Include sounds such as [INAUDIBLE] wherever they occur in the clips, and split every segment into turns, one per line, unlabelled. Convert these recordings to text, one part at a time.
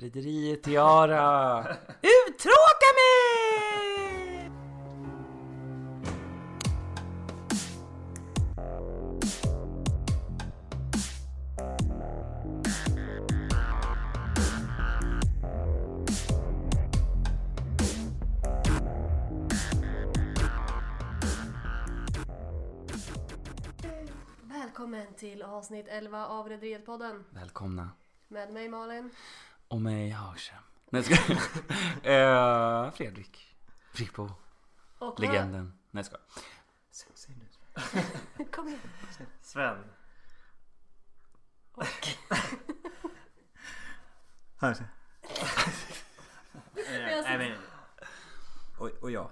Rederiet Tiara! [LAUGHS] Uttråka mig!
Välkommen till avsnitt 11 av Rederiet-podden
Välkomna.
med mig Malin.
Och mig Hagström. Nej jag [LAUGHS] skojar. Eh, Fredrik. Frippo.
Och
Legenden. Nej jag skojar.
Säg nu.
[LAUGHS] Kom igen.
Sven.
Och
[LAUGHS]
[LAUGHS]
Här.
har sett-
Eh, Nej men. Och, och jag.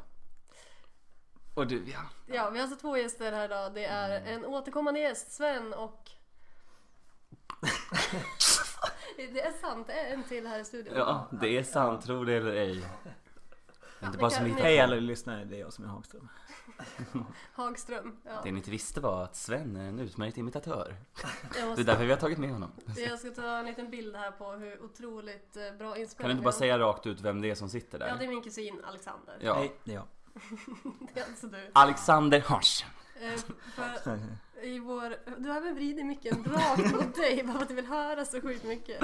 Och du ja.
ja, vi har alltså två gäster här idag. Det är
Mm.
en återkommande gäst,
[LAUGHS]
Sven och... Det är sant, det är en till här i studion.
Ja det är sant tro det eller ej. Det är inte bara som vi
Hej
hittar
alla lyssnare, det är jag som är Hagström.
Hagström. Ja.
Det ni inte visste var att Sven är en utmärkt imitatör.
Jag,
Det är
måste,
därför vi har tagit med honom.
jag ska ta en liten bild här på hur otroligt eh, bra inspelning
Kan du inte bara säga rakt ut vem det är som sitter
Ja, det är
där?
min kusin Alexander.
Ja.
Hej, det är jag.
[LAUGHS] Det är alltså du.
Alexander Hagström.
Eh, För I vår... Du har även vridit micken rakt mot dig bara för att du vill höra så sjukt mycket.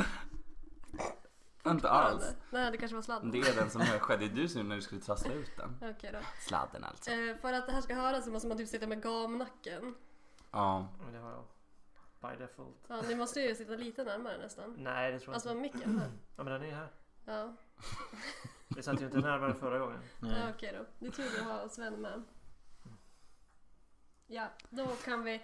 Inte alls.
Nej, det kanske var sladden.
Det är den som hör skedde du som när du skulle trassla ut den.
Okej då.
Sladden alltså.
Eh, för att det här ska höras så måste man typ sitta med gamnacken.
Ja.
Men det har jag. By default.
Ja, ni måste ju sitta lite närmare nästan.
Nej, det tror jag
Alltså
Mm.
inte.
med micken här.
Ja, men den är här.
Ja,
Vi satt ju inte närmare
[LAUGHS]
förra gången.
ja okej då. Det är tur vi har Sven med. Ja, då kan vi,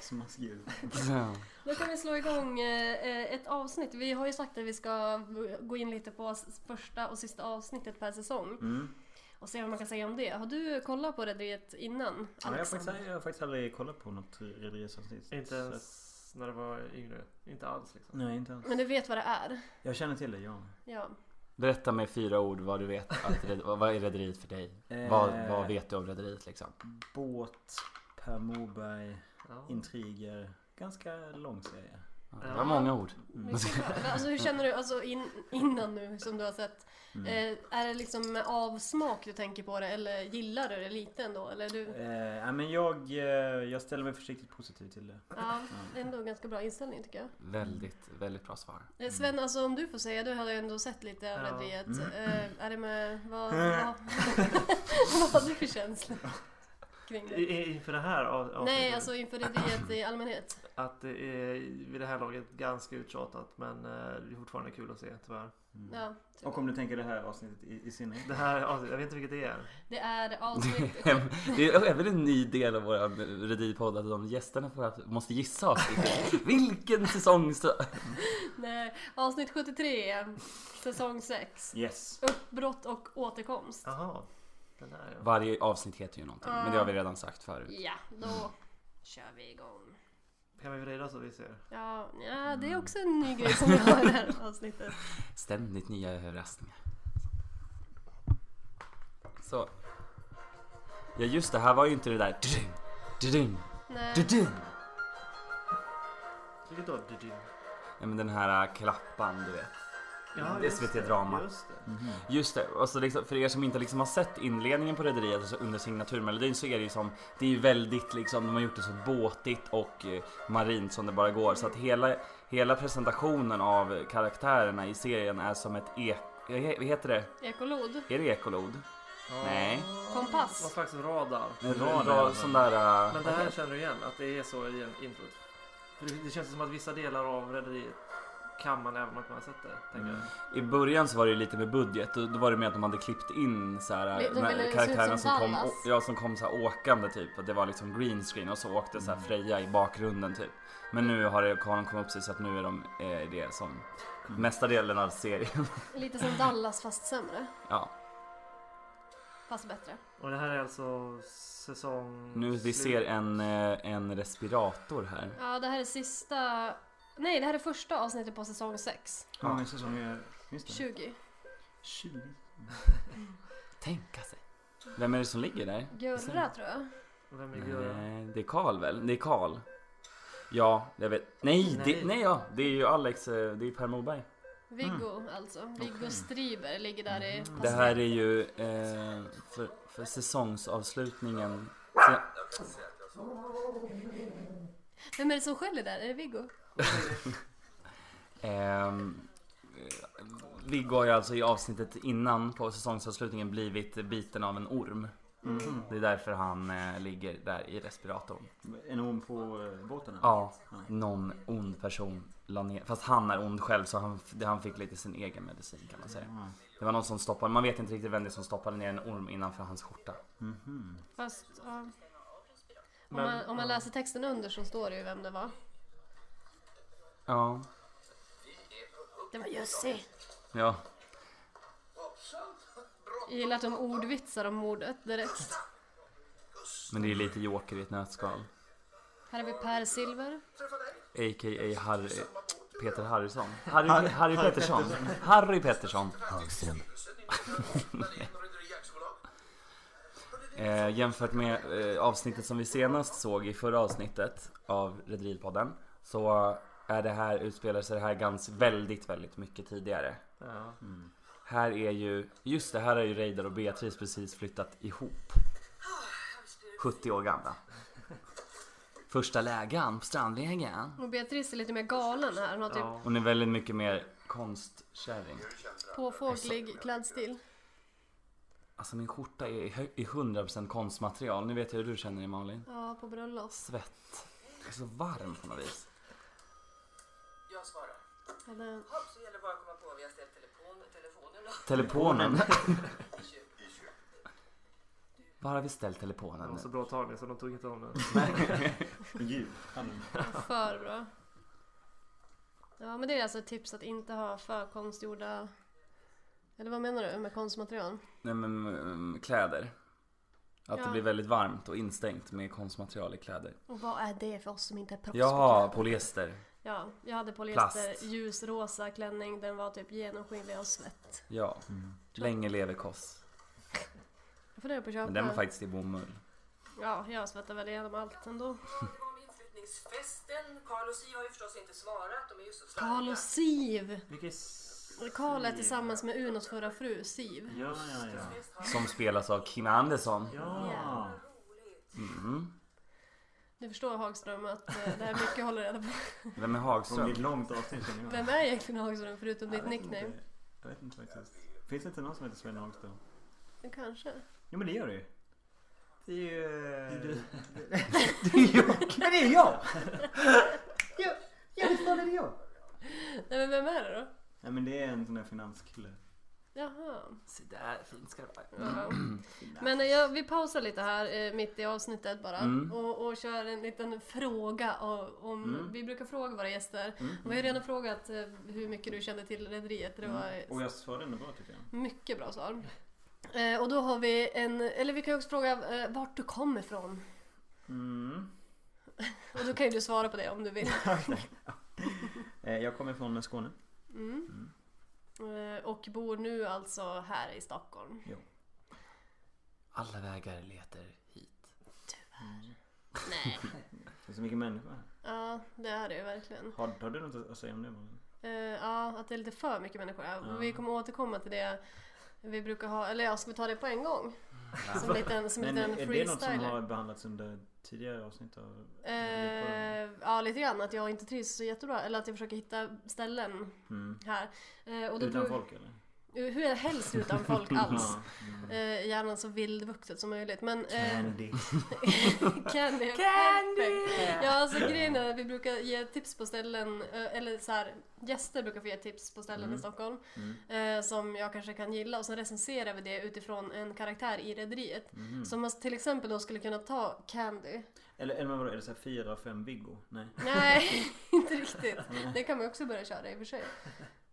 Som man skriver.
Så.
då kan vi slå igång eh, ett avsnitt. Vi har ju sagt att vi ska gå in lite på s- första och sista avsnittet per säsong.
Mm.
Och se vad man kan säga om det. Har du kollat på Rederiet innan?
Ja, men jag, har
Alexander?
faktiskt, jag har faktiskt aldrig kollat på något rederiavsnitt.
Inte
Så
ens när det var yngre. Inte alls
att-
liksom.
Mm.
Nej, inte ens.
Men du vet vad det är?
Jag känner till det, ja.
Ja.
[LAUGHS] Berätta med fyra ord vad du vet. Att, red- vad är rederiet för dig?
Eh,
Vad, vad vet du om rederiet liksom?
Båt, Per Morberg,
Ja.
intriger. Ganska lång serie. Mm.
Det var många ord.
mycket bra. Men Alltså hur känner du alltså in, innan nu som du har sett?
Mm.
Eh, är det liksom med avsmak du tänker på det eller gillar du det lite ändå? Eller du,
Eh, ja, men jag, eh, jag ställer mig försiktigt positiv till det.
ja, det är ändå en ganska bra inställning tycker jag.
Väldigt, väldigt bra svar.
Eh, Sven, alltså om du får säga, du har ju ändå sett lite av
Ja. Eh.
Rederiet. Eh, är det med, vad, vad, [LAUGHS] vad har du för känsla kring
I,
det?
i- inför det här av- avsnittet.
Nej, alltså inför Rederiet i allmänhet.
Att det är vid det här laget ganska uttjatat. Men eh, det är fortfarande kul att se tyvärr.
Mm.
Ja, typ.
Och om du tänker det här avsnittet i, i synnerhet.
Det här avsnittet, jag vet inte vilket det är.
det är
[LAUGHS]
avsnitt
[LAUGHS]
Det är även en ny del av vår rederipodd att de gästerna får att- måste gissa
[LAUGHS]
avsnittet. Vilken säsong så...
Nej, avsnitt 73, säsong 6.
Yes.
Uppbrott och återkomst.
Jaha. Den där ja.
Varje avsnitt heter ju någonting, men det har vi redan sagt förut.
Ja, då kör vi igång.
Kan vi vrida så vi ser?
Ja, ja, det är också en ny grej som vi har i det [LAUGHS] här avsnittet.
Ständigt nya överraskningar. Så. Ja just det, här var ju inte det där... Dudum, dudum,
Nej.
dudum.
Vilket då? Du- du-
Ja men den här äh, klappan du vet.
Ja,
SVT
just det.
Drama.
Just det.
Mhm.
Just det, och så liksom, för er som inte liksom har sett inledningen på Rederiet alltså under signaturmelodin så är det ju som Det är ju väldigt liksom, de har gjort det så båtigt och eh, marint som det bara går så att hela, hela presentationen av karaktärerna i serien är som ett ek... eh, Vad heter det?
Ekolod,
Är det ekolod?
Ja.
Nej.
Det var
kompass.
faktiskt radar.
En
radar,
rad av sån där... eh,
Men det här känner du igen, att det är så i en- introt. För det, det känns som att vissa delar av Rederiet kan man även om man inte har sett det. Tänker jag.
Mm.
I början så var det ju lite med budget, då, då var det med att de hade klippt in så här,
De ville
när
se
karaktärerna
ut som
som kom,
Dallas.
å- ja, som kom så här åkande typ, att det var liksom green screen och så åkte så här Freja i bakgrunden typ. Men nu har, det, har de kommit upp sig så att nu är de eh, det som mesta delen av serien. [LAUGHS]
Lite som Dallas fast sämre.
ja,
Fast bättre.
Och det här är alltså säsong...
nu vi ser en, eh, en respirator här.
Ja, det här är sista... Nej, det här är första avsnittet på säsong 6.
Hur många säsonger finns det?
20.
20.
Tänka sig. Vem är det som ligger där?
Gurra tror jag.
Vem är Göran?
Nej, det är Karl väl? Det är Karl. Ja, jag vet. Nej, nej. Det,
Nej.
nej ja. Det är ju Alex, eh, det är Per Morberg.
Viggo alltså. Viggo Striber ligger där i
Det här är ju eh, för, för säsongsavslutningen. Se-
Vem är det som skäller där? Är det Viggo?
Ehm, eh, Viggo har ju alltså i avsnittet innan på säsongsavslutningen blivit biten av en orm.
Mhm.
Det är därför han eh, ligger där i respiratorn.
En orm på eh, båten? eller?
Ja, någon ond person la ner. Fast han är ond själv så han, det- han fick lite sin egen medicin kan man säga.
Ja.
Det var någon som stoppade, man vet inte riktigt vem det är som stoppade ner en orm innanför hans skjorta.
Mhm.
Fast ja. om,
Men-
man, om man
ja.
läser texten under så står det ju vem det var.
Ja,
Det var Jussi.
ja.
Jag gillar att de ordvitsar om mordet direkt.
Men det är lite joker i ett nötskal.
Här har vi Per Silver.
A.k.a. Harry, Peter Harrison. Harry, Harry, Pettersson. Harry Pettersson. eh, jämfört med eh, avsnittet som vi senast såg i förra avsnittet av Rederipodden så är det här, utspelar sig det här ganska väldigt, väldigt mycket tidigare.
Ja.
Mm. Här är ju, just det här är ju Reidar och Beatrice precis flyttat ihop. 70 år gamla. Första lägan på strandlägen.
Och Beatrice är lite mer galen här. Hon har typ
Ja.
Hon är väldigt mycket mer konstkärring.
påfåglig klädstil.
Alltså min skjorta är i hö- i 100% konstmaterial. Nu vet jag hur du känner dig Malin.
Ja, på bröllop.
Svett. Det är så varmt på något vis.
Jag svarar.
Ja, det-
Hopp, så gäller det bara att komma på. Vi har ställt telefon, telefonen
[LAUGHS]
och
Telefonen.
i köket.
Var har vi ställt
Det
telefonen
var så
nu?
bra tagning så de tog inte om den.
Ljud.
För bra. Ja, men det är alltså ett tips att inte ha för konstgjorda... Eller vad menar du med konstmaterial?
Nej men mm, kläder. Att det
Ja.
blir väldigt varmt och instängt med konstmaterial i kläder.
Och vad är det för oss som inte är proffs
Jaha,
på kläder?
polyester.
Ja, jag hade polyester
Plast.
ljusrosa klänning. Den var typ genomskinlig av svett.
Ja. Länge lever Koss.
Jag funderar på att köpa.
Men den var faktiskt i bomull.
Ja, jag svettar väl igenom allt ändå.
Om inflyttningsfesten. Karl och Siv har ju förstås inte svarat. De är ju så slarviga.
Karl och Siv!
Vilka är... s-
Karl är tillsammans med Unos förra fru, Siv.
Ja, ja, ja.
Som spelas av Kim Andersson.
Ja.
Mm.
Du förstår Hagström att eh, det här är mycket jag håller reda på.
Vem är
Från
Hagström?
ditt långt avsnitt känner jag.
Vem är egentligen Hagström förutom ditt
Jag vet
nickname?
inte. Jag vet inte faktiskt. Finns det inte någon som heter Sven Hagström?
Kanske.
Jo men det gör det ju. Det är ju... eh,
är
[LAUGHS]
du.
är jag. Men det är
[LAUGHS]
jag! Ja, ja visst var det jag.
Nej men vem är det då?
Nej men det är en sån där finanskille.
Jaha.
Se där, fint ska det vara.
Ja. Men eh, jag, vi pausar lite här eh, mitt i avsnittet bara
Mm.
och, och kör en liten fråga. Om, om, Vi brukar fråga våra gäster.
Mm.
Och vi har redan frågat eh, hur mycket du kände till Rederiet.
Mm.
Det var
Mm. Och jag svarade ändå bra tycker jag.
mycket bra svar. Eh, och då har vi en, eller vi kan också fråga eh, vart du kommer ifrån.
Mm. [LAUGHS]
Och då kan ju du svara på det om du vill.
Eh, Jag kommer från Skåne.
Mm. Eh, Och bor nu alltså här i Stockholm.
Alla vägar leder hit.
Nej.
Det är så mycket människor här.
Ja, det är det ju verkligen.
Har, har du något att säga om det? Malin?
Eh, Ja, att det är lite för mycket människor. Ja,
Ja.
Vi kommer återkomma till det. Vi brukar ha, eller ja, ska vi ta det på en gång? Som en liten, som en
Men
liten
är det något som
freestyler.
har behandlats under tidigare avsnitt av...
Eh, ja, lite grann. Att jag inte trivs så jättebra. Eller att jag försöker hitta ställen
Mm.
här. Eh, och då
Utan
tror-
folk eller?
Hur är helst
[LAUGHS]
utan folk alls.
Ja. Mm.
Eh, gärna så vildvuxet som möjligt. Men, eh,
Andy.
[LAUGHS] Candy! Candy! Ja, alltså grejen är att vi brukar ge tips på ställen, eh, eller så här, gäster brukar få ge tips på ställen i
Mm.
Stockholm eh, som jag kanske kan gilla och sen recenserar vi det utifrån en karaktär i Rederiet.
Mm.
Som man till exempel då skulle kunna ta Candy.
Eller, eller vadå, är det såhär 4 av 5 Viggo? Nej.
Nej, [LAUGHS] inte riktigt.
Mm.
Det kan man också börja köra i och för sig.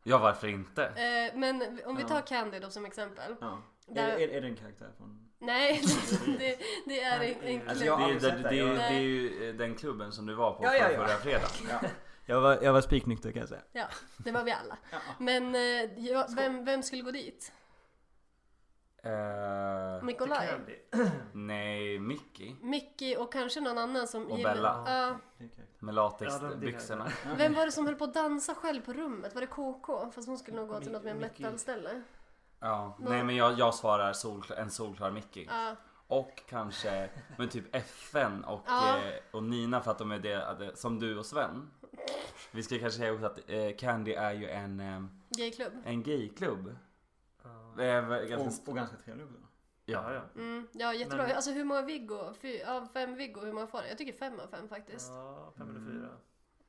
Ja, varför inte?
Eh, men om vi
Ja.
tar Candy då som exempel.
Ja.
Där-
Är, är, är det en karaktär från...
Nej, [LAUGHS] det, det är en, en
Alltså,
Det
jag-
klubb.
är, ju-
aldrig
det,
sett
det,
det.
är ju-
Jag-
det är ju eh, den klubben som du var på
Ja, ja,
förra-
ja. [LAUGHS]
förra fredag.
Jag var, jag var spiknykter kan jag säga.
Ja, det var vi alla.
Ja.
Men eh, jag, vem, vem skulle gå dit?
Eh,
Nikolaj.
Candy.
nej, Mickey.
Mickey och kanske någon annan som
Och
gillar-
Bella.
Ja.
Med
Ja, de-
latexbyxorna.
Vem var det som höll på att dansa själv på rummet? Var det KK? Fast hon skulle nog gå till något mer
Mickey.
metalställe.
Ja,
Någon-
nej men jag, jag svarar sol, en solklar Mickey.
Ja.
Och kanske, men typ FN och,
Ja.
eh, och Nina för att de är det, att det- som du och Sven. Vi ska kanske säga också att eh, Candy är ju en, eh,
Gayklubb.
en gayklubb.
Ja.
Det är väl ganska st-
Och, och ganska trevlig också.
ja.
Ja, ja.
Mm, ja, jättebra.
Men-
Alltså hur många Viggo? Fy, av fem Viggo, hur många får det? Jag tycker fem av fem faktiskt.
Ja, fem eller
Mm.
fyra.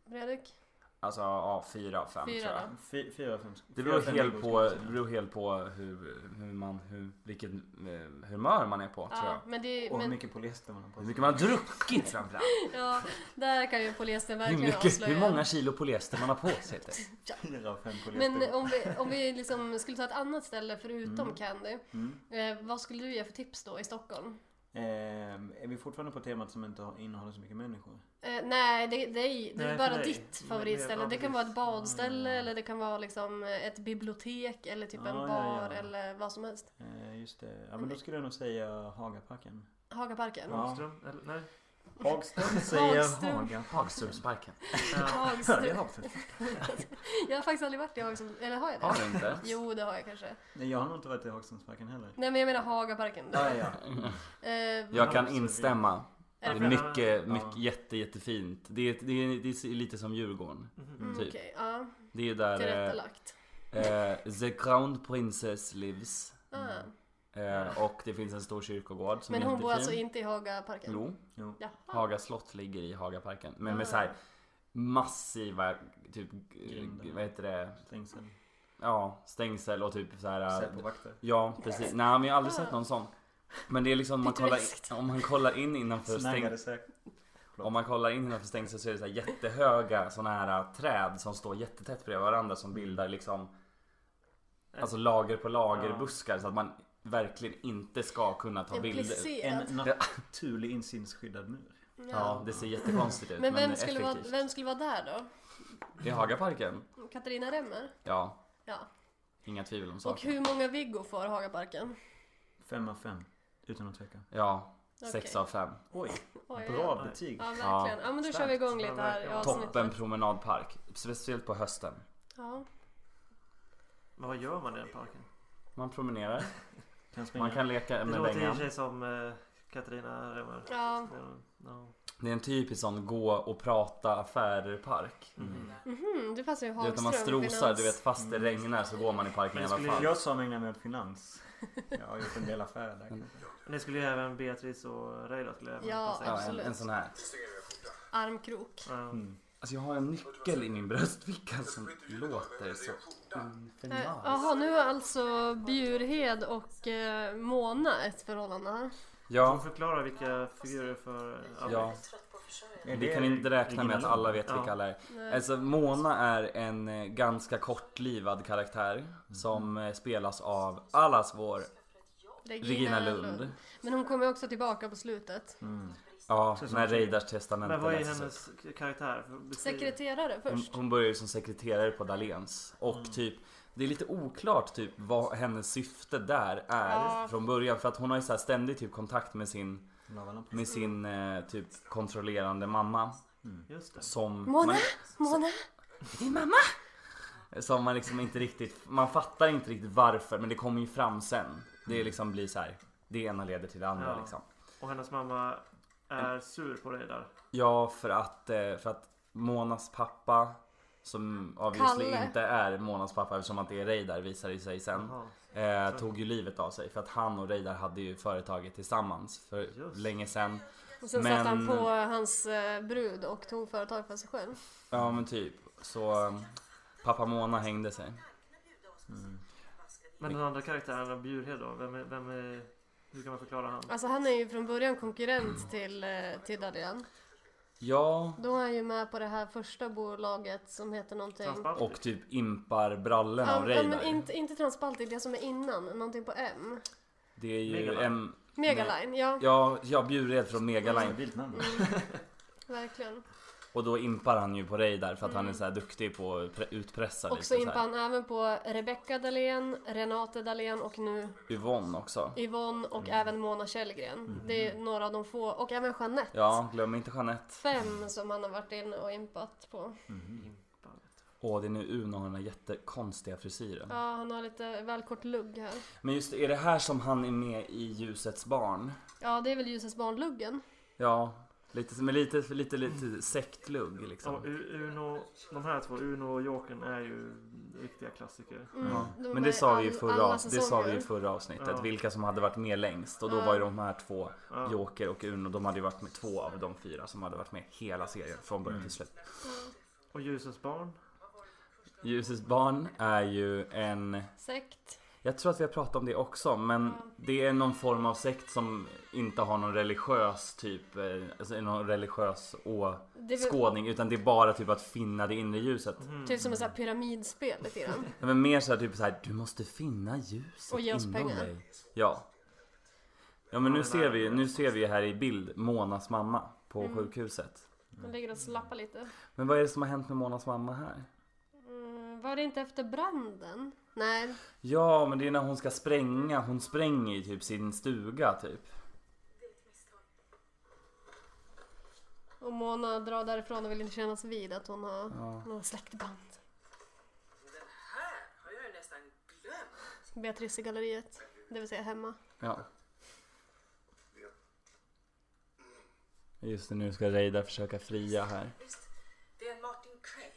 Fredrik?
Alltså ja, fyra av fem
Fyra
tror jag.
då.
Fy- Fyra, fem.
Det beror
fyra, fem
helt
veckor
på,
ska
det
man säga.
beror helt på hur, hur man, hur, vilket eh, humör man är på tror jag.
Ja, men det är,
Och hur
men,
mycket polyester man har på
Hur mycket man har druckit framförallt.
[LAUGHS] ja, där kan ju polyesten
Hur,
[LAUGHS] verkligen
mycket,
avslöja.
hur många kilo polyester man har på sig. Typ.
Fyra, fem polyester.
Men om vi, om vi liksom skulle ta ett annat ställe förutom
Mm.
Candy.
Mm.
Eh, vad skulle du ge för tips då i Stockholm?
Ehm, är vi fortfarande på temat som inte har- innehåller så mycket människor?
Eh, nej, det, det är, det är
Nej,
bara
för dig.
ditt
Men det-
favoritställe.
ja,
Det kan
precis.
vara ett badställe
Ah.
eller det kan vara liksom ett bibliotek eller typ en
Ah, ja,
bar
ja.
eller vad som helst.
Eh, just det. Ja men då skulle jag nog säga Hagaparken.
Hagaparken.
Ja.
Hagström? Eller nej?
Hagström [LAUGHS] säger
Hagström.
Hagaparken.
Hagströmsparken.
Ja.
Hörde jag
Hagström.
Hagström?
Jag har faktiskt aldrig varit i Hagström. Eller har jag det?
Har du inte?
[LAUGHS] Jo, det har jag kanske.
Nej jag har nog inte varit i Hagströmsparken heller.
Nej, men jag menar Hagaparken.
Ja, ja.
Eh,
Jag kan instämma. Det
är det
är
bra?
mycket,
Ja.
mycket, jätte, jättefint. Det är, det, är, det är lite som Djurgården.
Mhm.
Mm, Okej,
typ.
ja.
Det är där
Tillrättalagt.
eh, eh, The Crown Princess lives.
Ah.
Eh, och det finns en stor kyrkogård som
Men
är
hon
jättefin.
bor alltså inte i Hagaparken?
Jo,
Jaha.
Haga slott ligger i Hagaparken. Men
Ah.
med så här massiva typ,
Grinder.
eh, vad heter det?
Stängsel.
Ja, stängsel och typ så här. eh,
Säpovakter.
Ja, precis. Nej, men jag har aldrig
Ah.
sett någon sån. Men det är liksom om man kollar,
Pittoreskt.
om man kollar in innanför stängsel.
Snaggade säkert.
Om man kollar in innanför stängsel så är det så här jättehöga såna här äh, träd som står jättetätt bredvid varandra som bildar liksom Alltså lager på lager
Ja.
buskar så att man verkligen inte ska kunna ta
En
bilder.
plisserad.
En naturlig insynsskyddad mur.
Ja, det ser jättekonstigt ut
Men
men,
vem
effektivt.
skulle, vara, vem skulle vara där
I Hagaparken?
då? Katarina Remmer?
Ja,
Ja.
inga tvivel om
Och
saken.
hur många Viggo får Hagaparken?
Fem av fem. Utan att tveka.
Ja, sex
Okej.
av fem.
Oj,
Oj,
bra
ja.
betyg.
Ja, verkligen. Ja, men då kör vi igång lite här i
Ja,
Toppen
avsnittet.
promenadpark. Speciellt på hösten.
Ja.
Men vad gör man i den parken?
Man promenerar,
Kan springa.
man kan leka
Mm. Det
med
låter i och
längan.
för sig som eh, Katarina Remmer.
Ja.
Mm, ja.
Det är en typisk sån gå och prata affärer-park.
Mm.
Mhm, det passar ju
Du vet när man
Hagström.
strosar, du vet
finans.
fast det regnar så går man i parken i
Men
alla
Mm. skulle
fall.
Jag som ägnar mig åt finans. Jag har gjort en del affärer där.
Mm.
kanske.
Men det skulle ju även Beatrice och Reidar skulle även
Ja,
passa in.
Ja, en,
absolut.
en sån här.
Armkrok.
Ja.
Mm.
Alltså jag har en nyckel i min bröstficka som låter så
Eh,
infernaliskt.
Jaha, nu har alltså Bjurhed och eh, Mona ett förhållande här.
Får du
Ja,
förklara vilka figurer för...
ja.
Trött på att försörja.
Är
Vi
det
kan inte räkna med att
original?
alla vet vilka
Ja.
alla är.
Nej.
Alltså Mona är en eh, ganska kortlivad karaktär
Mm.
som eh, spelas av allas vår Regina Lund.
Men hon kommer ju också tillbaka på slutet.
liksom-
Mm.
Ja,
Så som-
när Reidars
Men
testamente
vad är
läses upp.
hennes karaktär? Beskriv.
Sekreterare
Hon,
först.
hon börjar ju som sekreterare på Dahléns och
Mm.
typ det är lite oklart typ vad hennes syfte där är
Ja.
från början för att hon har ju så här ständig typ kontakt med sin
Lavalampa.
med sin eh, typ kontrollerande mamma
Just det.
som
Mona?
man,
Mona?
din mamma som man liksom inte riktigt man fattar inte riktigt varför men det kommer ju fram sen. Det är liksom blir så här det ena leder till det andra
Ja.
liksom.
Och hennes mamma är sur på Reidar.
Ja, för att, eh, för att Monas pappa som obviously
Kalle.
inte är Monas pappa eftersom att det är Reidar visar det sig sen.
Jaha.
Eh, tog ju livet av sig för att han och Reidar hade ju företaget tillsammans för
Just.
länge sen.
Och sen
Men-
satt han på hans eh, brud och tog företag för sig själv.
Ja men typ. Så eh, pappa Mona hängde sig.
Men den andra karaktären, Bjurhed då? Vem är, vem är... Hur kan man förklara han?
Alltså han är ju från början konkurrent till, eh, till Darian.
Ja.
Då är han ju med på det här första bolaget som heter någonting.
Transparent?
Och typ impar brallen av
Ja, ja, men
Reidar.
inte, inte Transbaltic, det som är innan. Någonting på M.
Det är ju
Megaline.
en...
Megaline, ja.
Ja, jag bjuder från Megaline.
Stabilt namn.
Verkligen.
Och då impar han ju på dig där för att han är
Mm.
så här duktig på att pre- utpressa
Och så
lite.
impar
Så här.
han även på Rebecca Dahlén, Renate Dahlén och nu
Yvonne också.
Yvonne och
Mm.
även Mona Källgren. Det är några av de få, och även Jeanette.
Ja, glöm inte Jeanette.
Fem som han har varit inne och impat på.
Åh, det är nu Uno har den här jättekonstiga frisyren.
Ja, han har lite väl kort lugg här.
Men just det, är det här som han är med i Ljusets barn?
Ja, det är väl Ljusets barn-luggen.
Ja, lite, med lite, lite, lite sektlugg
Ja,
liksom.
U- Uno, de här två, Uno och Jokern är ju riktiga klassiker.
Mm,
Ja.
de
Men
är
det sa vi ju
all-
i förra,
alla
av- det sa vi
säsonger.
i förra avsnittet,
Ja.
vilka som hade varit med längst. Och då
Ja.
var ju de här två,
Ja.
Joker och Uno, de hade ju varit med två av de fyra som hade varit med hela serien från början
Mm.
till slut.
Och Ljusens barn.
Ljusets barn är ju en
Sekt.
Jag tror att vi har pratat om det också men
Ja.
det är någon form av sekt som inte har någon religiös typ, eh, alltså någon religiös
Det är väl
åskådning utan det är bara typ att finna det inre ljuset.
Mm.
typ som ett så här pyramidspel lite grann.
Ja, Men mer så här, typ så här, du måste finna ljuset
Och ge oss
inom
pengar.
dig. Ja. Ja men
Ja,
nu
det
ser
där-
vi nu ser vi här i bild Monas mamma på
Mm.
sjukhuset.
De ligger och slappar lite.
Men vad är det som har hänt med Monas mamma här?
Mm, var det inte efter branden? Nej.
Ja men det är när hon ska spränga, hon spränger i typ sin stuga typ.
Och Mona drar därifrån och vill inte kännas vid att hon har
Ja.
några släktband.
Den här har jag ju nästan glömt.
Beatrice i galleriet, det vill säga hemma.
Ja. Just det, nu ska Reidar försöka fria här.
Visst, det är en Martin Cray.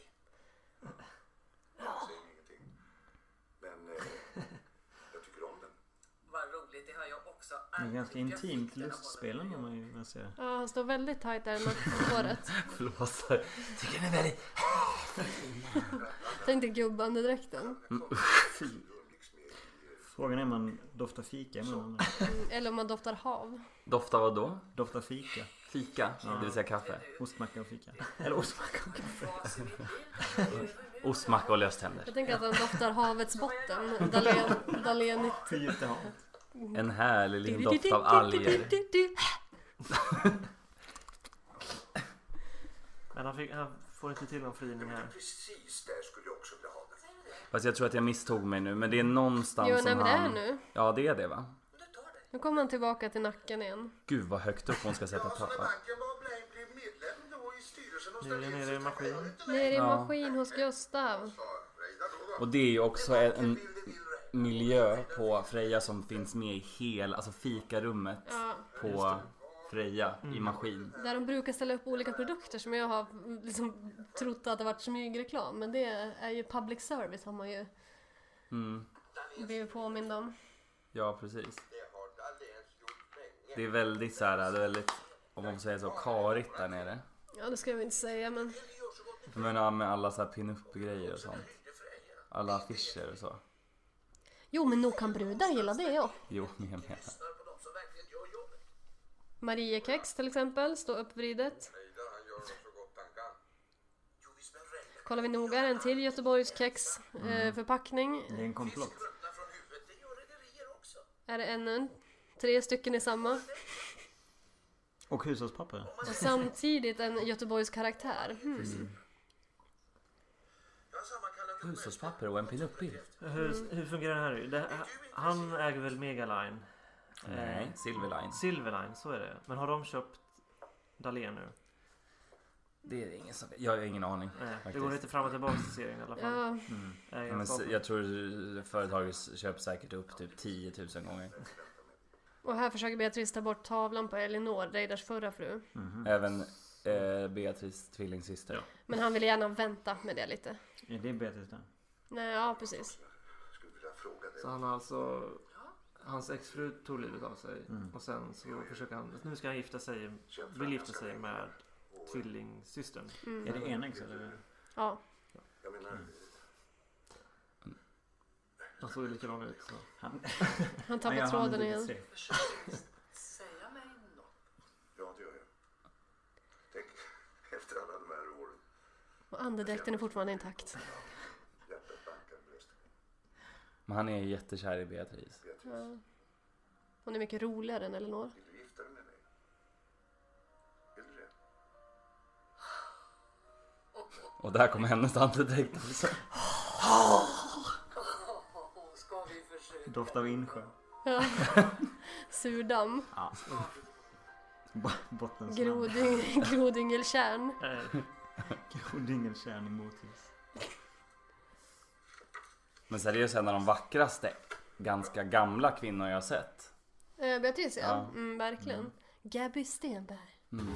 Jag säger ingenting. Men eh, jag tycker om den.
Vad roligt, det har jag också.
Det är
aldrig.
ganska
Jag
intimt
fick den av honom.
lustspel ändå om man ju vill säga.
Ja, han står väldigt tajt där med håret.
Flåsar. Tycker ni väldigt...
Tänk dig gubbandedräkten.
Frågan är om man doftar fika i munnen.
Mm, Eller om man doftar hav.
Doftar vad då?
Doftar fika.
Fika, det vill säga kaffe.
Ostmacka och fika. Eller ostmacka och kaffe.
Vas i min bil.
Ostmacka och löständer.
Jag tänker att han doftar havets botten. Dahlén, Dahlén
Till Götehavet.
En härlig liten doft av alger.
Men han, fick, han får inte till någon frining här.
Precis där skulle jag också vilja ha den.
Fast jag tror att jag misstog mig nu, men det är någonstans
Jo,
som
nej men det är
han...
nu.
Ja, det är det va?
Du tar den.
Nu kommer han tillbaka till nacken igen.
Gud vad högt upp hon ska sätta
Jag som är
pappa.
banken var blev- blev medlem då i styrelsen och
Nu är det nere i maskinen.
Nere i
Ja.
maskin hos Gustav.
Och det är ju också en,
Mm.
en miljö på Freja som finns med i hela, alltså fikarummet
Ja,
på Freja i maskin.
där de brukar ställa upp olika produkter som jag har liksom trott att det varit smygreklam. Men det är ju public service har man ju
Mm.
blivit påmind om.
Ja, precis. Det är väldigt så här, det är väldigt, om man får säga så, karigt där nere.
Ja, det ska jag väl inte säga men
Jag menar med alla så här pin-up-grejer och sånt. Alla affischer och så.
Jo, men nog kan brudar gilla det ja.
Jo, jag menar.
Mariekex till exempel, stå uppvridet. Kollar vi noga är det en till Göteborgskexförpackning. Eh, förpackning.
Det är en komplott.
är det ännu en? Tre stycken i samma.
Och hushållspapper.
Och samtidigt en Göteborgskaraktär. Hmm.
Hushållspapper och en pin-up-bild.
Mm.
Hur, hur fungerar det här nu? Det, här- han äger väl Megaline?
Nej, Silverline.
Silverline, så är det. Men har de köpt Dahlén nu?
Det är ingen som... Jag har ingen aning.
Nej, det
Faktiskt.
går lite fram och tillbaka i serien i alla fall.
Ja,
Äger
Ja, Men
staten.
s- jag tror företaget köper säkert upp typ 10 000 gånger.
och här försöker Beatrice ta bort tavlan på Elinor, Reidars förra fru.
Mhm.
Även eh, Beatrice tvillingsyster.
Men han vill gärna vänta med det lite.
Är det Beatrice där?
Nej, ja precis.
Jag skulle vilja fråga dig.
Så han har alltså... Hans exfru tog livet av sig
Mm.
och sen så försöker han... Nu ska han gifta sig, vill gifta sig med tvillingsystern.
Mm.
Är det enäggs eller?
Ja.
Jag menar,
Han såg ju likadan ut. [LAUGHS] Så.
Han
Han, han gör
tappar
handen
tråden
lite
igen.
sträv.
[LAUGHS] Säga mig något.
ja det gör jag. Tänk [LAUGHS] efter alla de här åren.
Och andedräkten är fortfarande intakt.
Hjärtat bankar bröst.
Men han är ju jättekär i Beatrice.
Ja. Hon är mycket roligare än Elinor.
Vill du gifta dig med mig? Vill du det?
Och där kom hennes [LAUGHS] andedräkt också.
Ska vi försöka?
Doft av insjö.
Ja. Surdamm.
Bo- Bottenslam.
Grodyng, [LAUGHS] grodyngelkärn.
Nej.
Grodyngelkärn i Motis.
Men seriöst en av de vackraste ganska gamla kvinnor jag har sett.
Eh, Beatrice ja.
Ja.
Mm, verkligen. Gabby Stenberg.
Mm.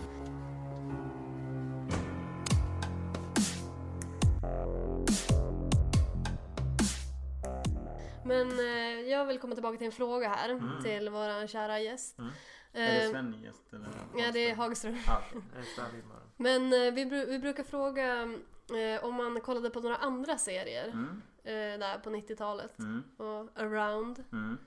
Men eh, jag vill komma tillbaka till en fråga här till våran kära gäst.
Mm. Är det
Eh,
Sven gäst eller?
ja, det är Hagström.
Ah, okej.
Jag är stark i morgon.
Men eh, vi, bru- vi brukar fråga eh, om man kollade på några andra serier
Mm.
eh, där på 90-talet.
Mm.
Och Around.
Mm.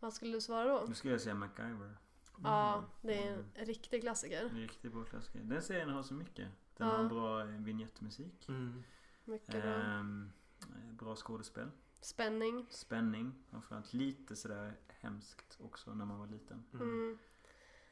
Vad skulle du svara då?
Nu skulle jag säga MacGyver.
Ja, det är
Mm.
en riktig klassiker.
En riktig bra klassiker. Den serien har så mycket. Den
Ja.
har bra eh, vignettmusik.
Mm.
Mycket bra.
Ehm, bra skådespel.
Spänning.
Spänning. Framförallt lite sådär hemskt också när man var liten.
Mm.
Mm.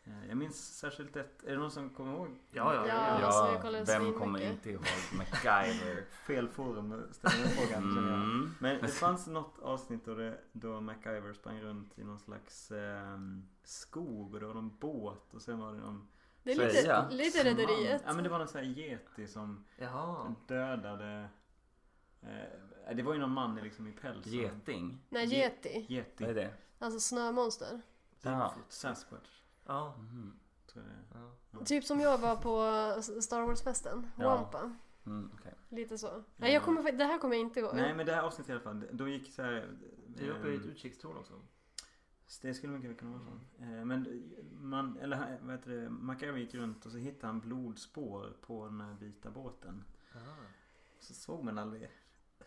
Eh, Jag minns särskilt ett. Är det någon som kommer ihåg?
Ja, ja,
Ja.
ja.
alltså, jag kollade
vem
svinmycket.
kommer inte ihåg MacGyver?
Fel forum att ställa den [LAUGHS] frågan känner jag.
Mm.
Men det fanns något avsnitt då, det, då MacGyver sprang runt i någon slags ehm, skog och det var någon båt och sen var det någon
Det är
Så är det, ja.
lite, lite
man.
Rederiet.
Ja men det var någon sån här yeti som
Jaha.
dödade eh, Det var ju någon man liksom i päls
Geting?
Nej,
Ge-
Yeti.
Yeti
Vad är det?
Alltså snömonster.
Ja.
Sasquatch
Ja.
Mhm.
tror jag det är.
ja.
Typ som jag var på eh, S- Star Wars-festen.
Ja. Mm.
Wampa.
Mm, okej.
Lite så. Nej, jag kommer, fa- det här kommer jag inte ihåg.
Nej men det här avsnittet i alla fall, då gick så här,
Det är uppe i ett
Mm.
ehm,
utkikstorn också.
Det skulle mycket väl kunna vara så. Eh, Men man, eller han- vad heter det, MacGyver gick runt och så hittade han blodspår på den här vita båten.
Aha.
Så såg man aldrig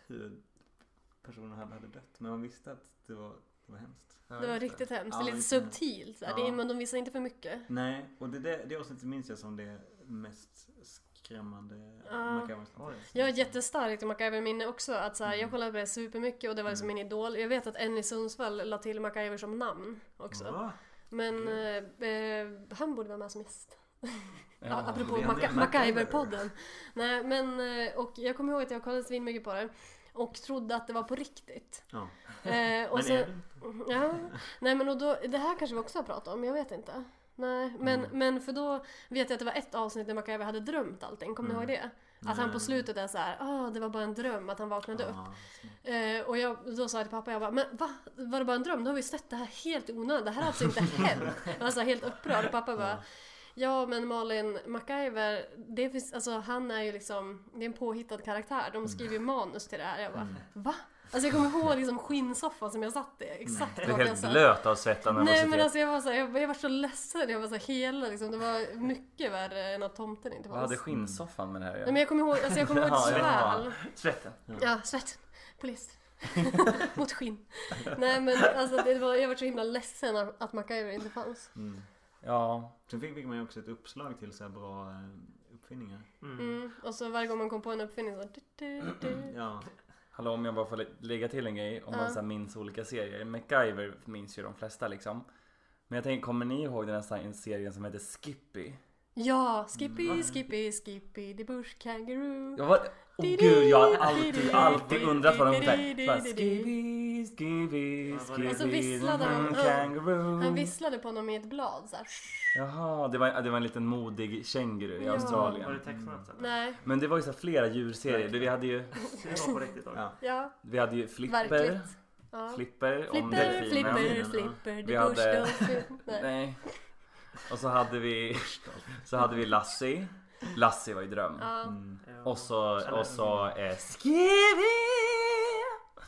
hur personen hade, hade dött. Men man visste att det var, det var hemskt.
Ja,
Det var
just
riktigt hemskt. Det är
Ja,
lite
just det.
subtilt. så här. Det är,
Ja.
men de visar inte för mycket.
Nej, och det, det, det avsnittet minns jag som det mest skrämmande
Ja.
MacGyver
Oj.
Jag har ett jättestarkt MacGyver-minne också. Att så här,
Mm.
Jag kollade på det supermycket och det var liksom min idol. Jag vet att en i Sundsvall la till MacGyver som namn också.
Va?
Men
Mm.
eh, eh, han borde vara med som
[LAUGHS]
gäst.
Ja,
Apropå
det är
Maca-
det.
MacGyver-podden. Nej men, eh, och jag kommer ihåg att jag kollade svinmycket på det. Och trodde att det var på
[LAUGHS]
riktigt.
Ja.
Eh, och
Men
så,
är det?
[LAUGHS] ja, nej men och då, det här kanske vi också har pratat om, jag vet inte. Nej, men,
Mm.
men för då vet jag att det var ett avsnitt där MacGyver hade drömt allting, kommer
Mm.
ni ihåg det? Att han på slutet är så här, ah det var bara en dröm, att han vaknade upp.
Ja,
Eh, och jag, då sa jag till pappa, jag bara, men va? Var det bara en dröm? Då har vi sett det här helt i onödan. Det här har
[LAUGHS]
alltså inte hänt. Jag var så här helt upprörd. Och pappa bara, ja men Malin, MacGyver, det finns, alltså, han är ju liksom, det är en påhittad karaktär. De skriver ju
Mm.
manus till det här. Jag bara, va? Alltså jag kommer ihåg liksom skinnsoffan som jag satt i. Exakt
Du är
vad jag
helt
satt.
blöt av svett och
alltså- Nej men
nervositet.
alltså jag var, så här, jag, jag var så ledsen. Jag var så här, hela liksom, det var mycket värre än att tomten inte
Vad
fanns.
hade skinnsoffan med det här att
Nej
göra?
men jag kommer ihåg, alltså jag kommer ihåg det så
Ja, ja.
väl.
Svetten.
Ja, svett. Polis. [LAUGHS] Mot skinn. Nej men alltså det var, jag var så himla ledsen att att MacGyver inte fanns.
mm.
Ja,
Sen fick, fick man ju också ett uppslag till så här bra eh, uppfinningar.
Mm. Och så varje gång man kom på en uppfinning så... Du, du, du.
Ja.
Hallå om jag bara får lä- lägga till en grej om
Ja.
man så här minns olika serier. MacGyver minns ju de flesta liksom. Men jag tänker, kommer ni ihåg den här serien- serien som heter Skippy?
Ja, Skippy, Skippy, Skippy, the bush kangaroo.
Jag var... Åh gud, jag har alltid, alltid undrat vad de hette. Bara, Skippy, Skippy,
Vad var det?
Skippy,
Och så visslade han.
mm,
Ja.
kangaroo.
Han visslade på honom i ett blad så här.
Jaha, det var, det var en liten modig känguru i
Ja.
Var det
Australien.
tecknat eller?
Mm. Nej,
Men det var ju så här flera djurserier. Du, Vi hade ju,
Det var på riktigt också.
Ja.
ja,
vi hade ju Flipper,
verkligt. Ja.
Flipper, om
Flipper,
delfinen.
flipper,
Delfinen,
flipper,
Vi
the bush
hade-
dolphin. Nej.
Nej. Och så hade vi Så hade vi Lassie. Lassie var ju dröm.
Ja.
Mm.
Ja.
Och så, och så eh, Skibby!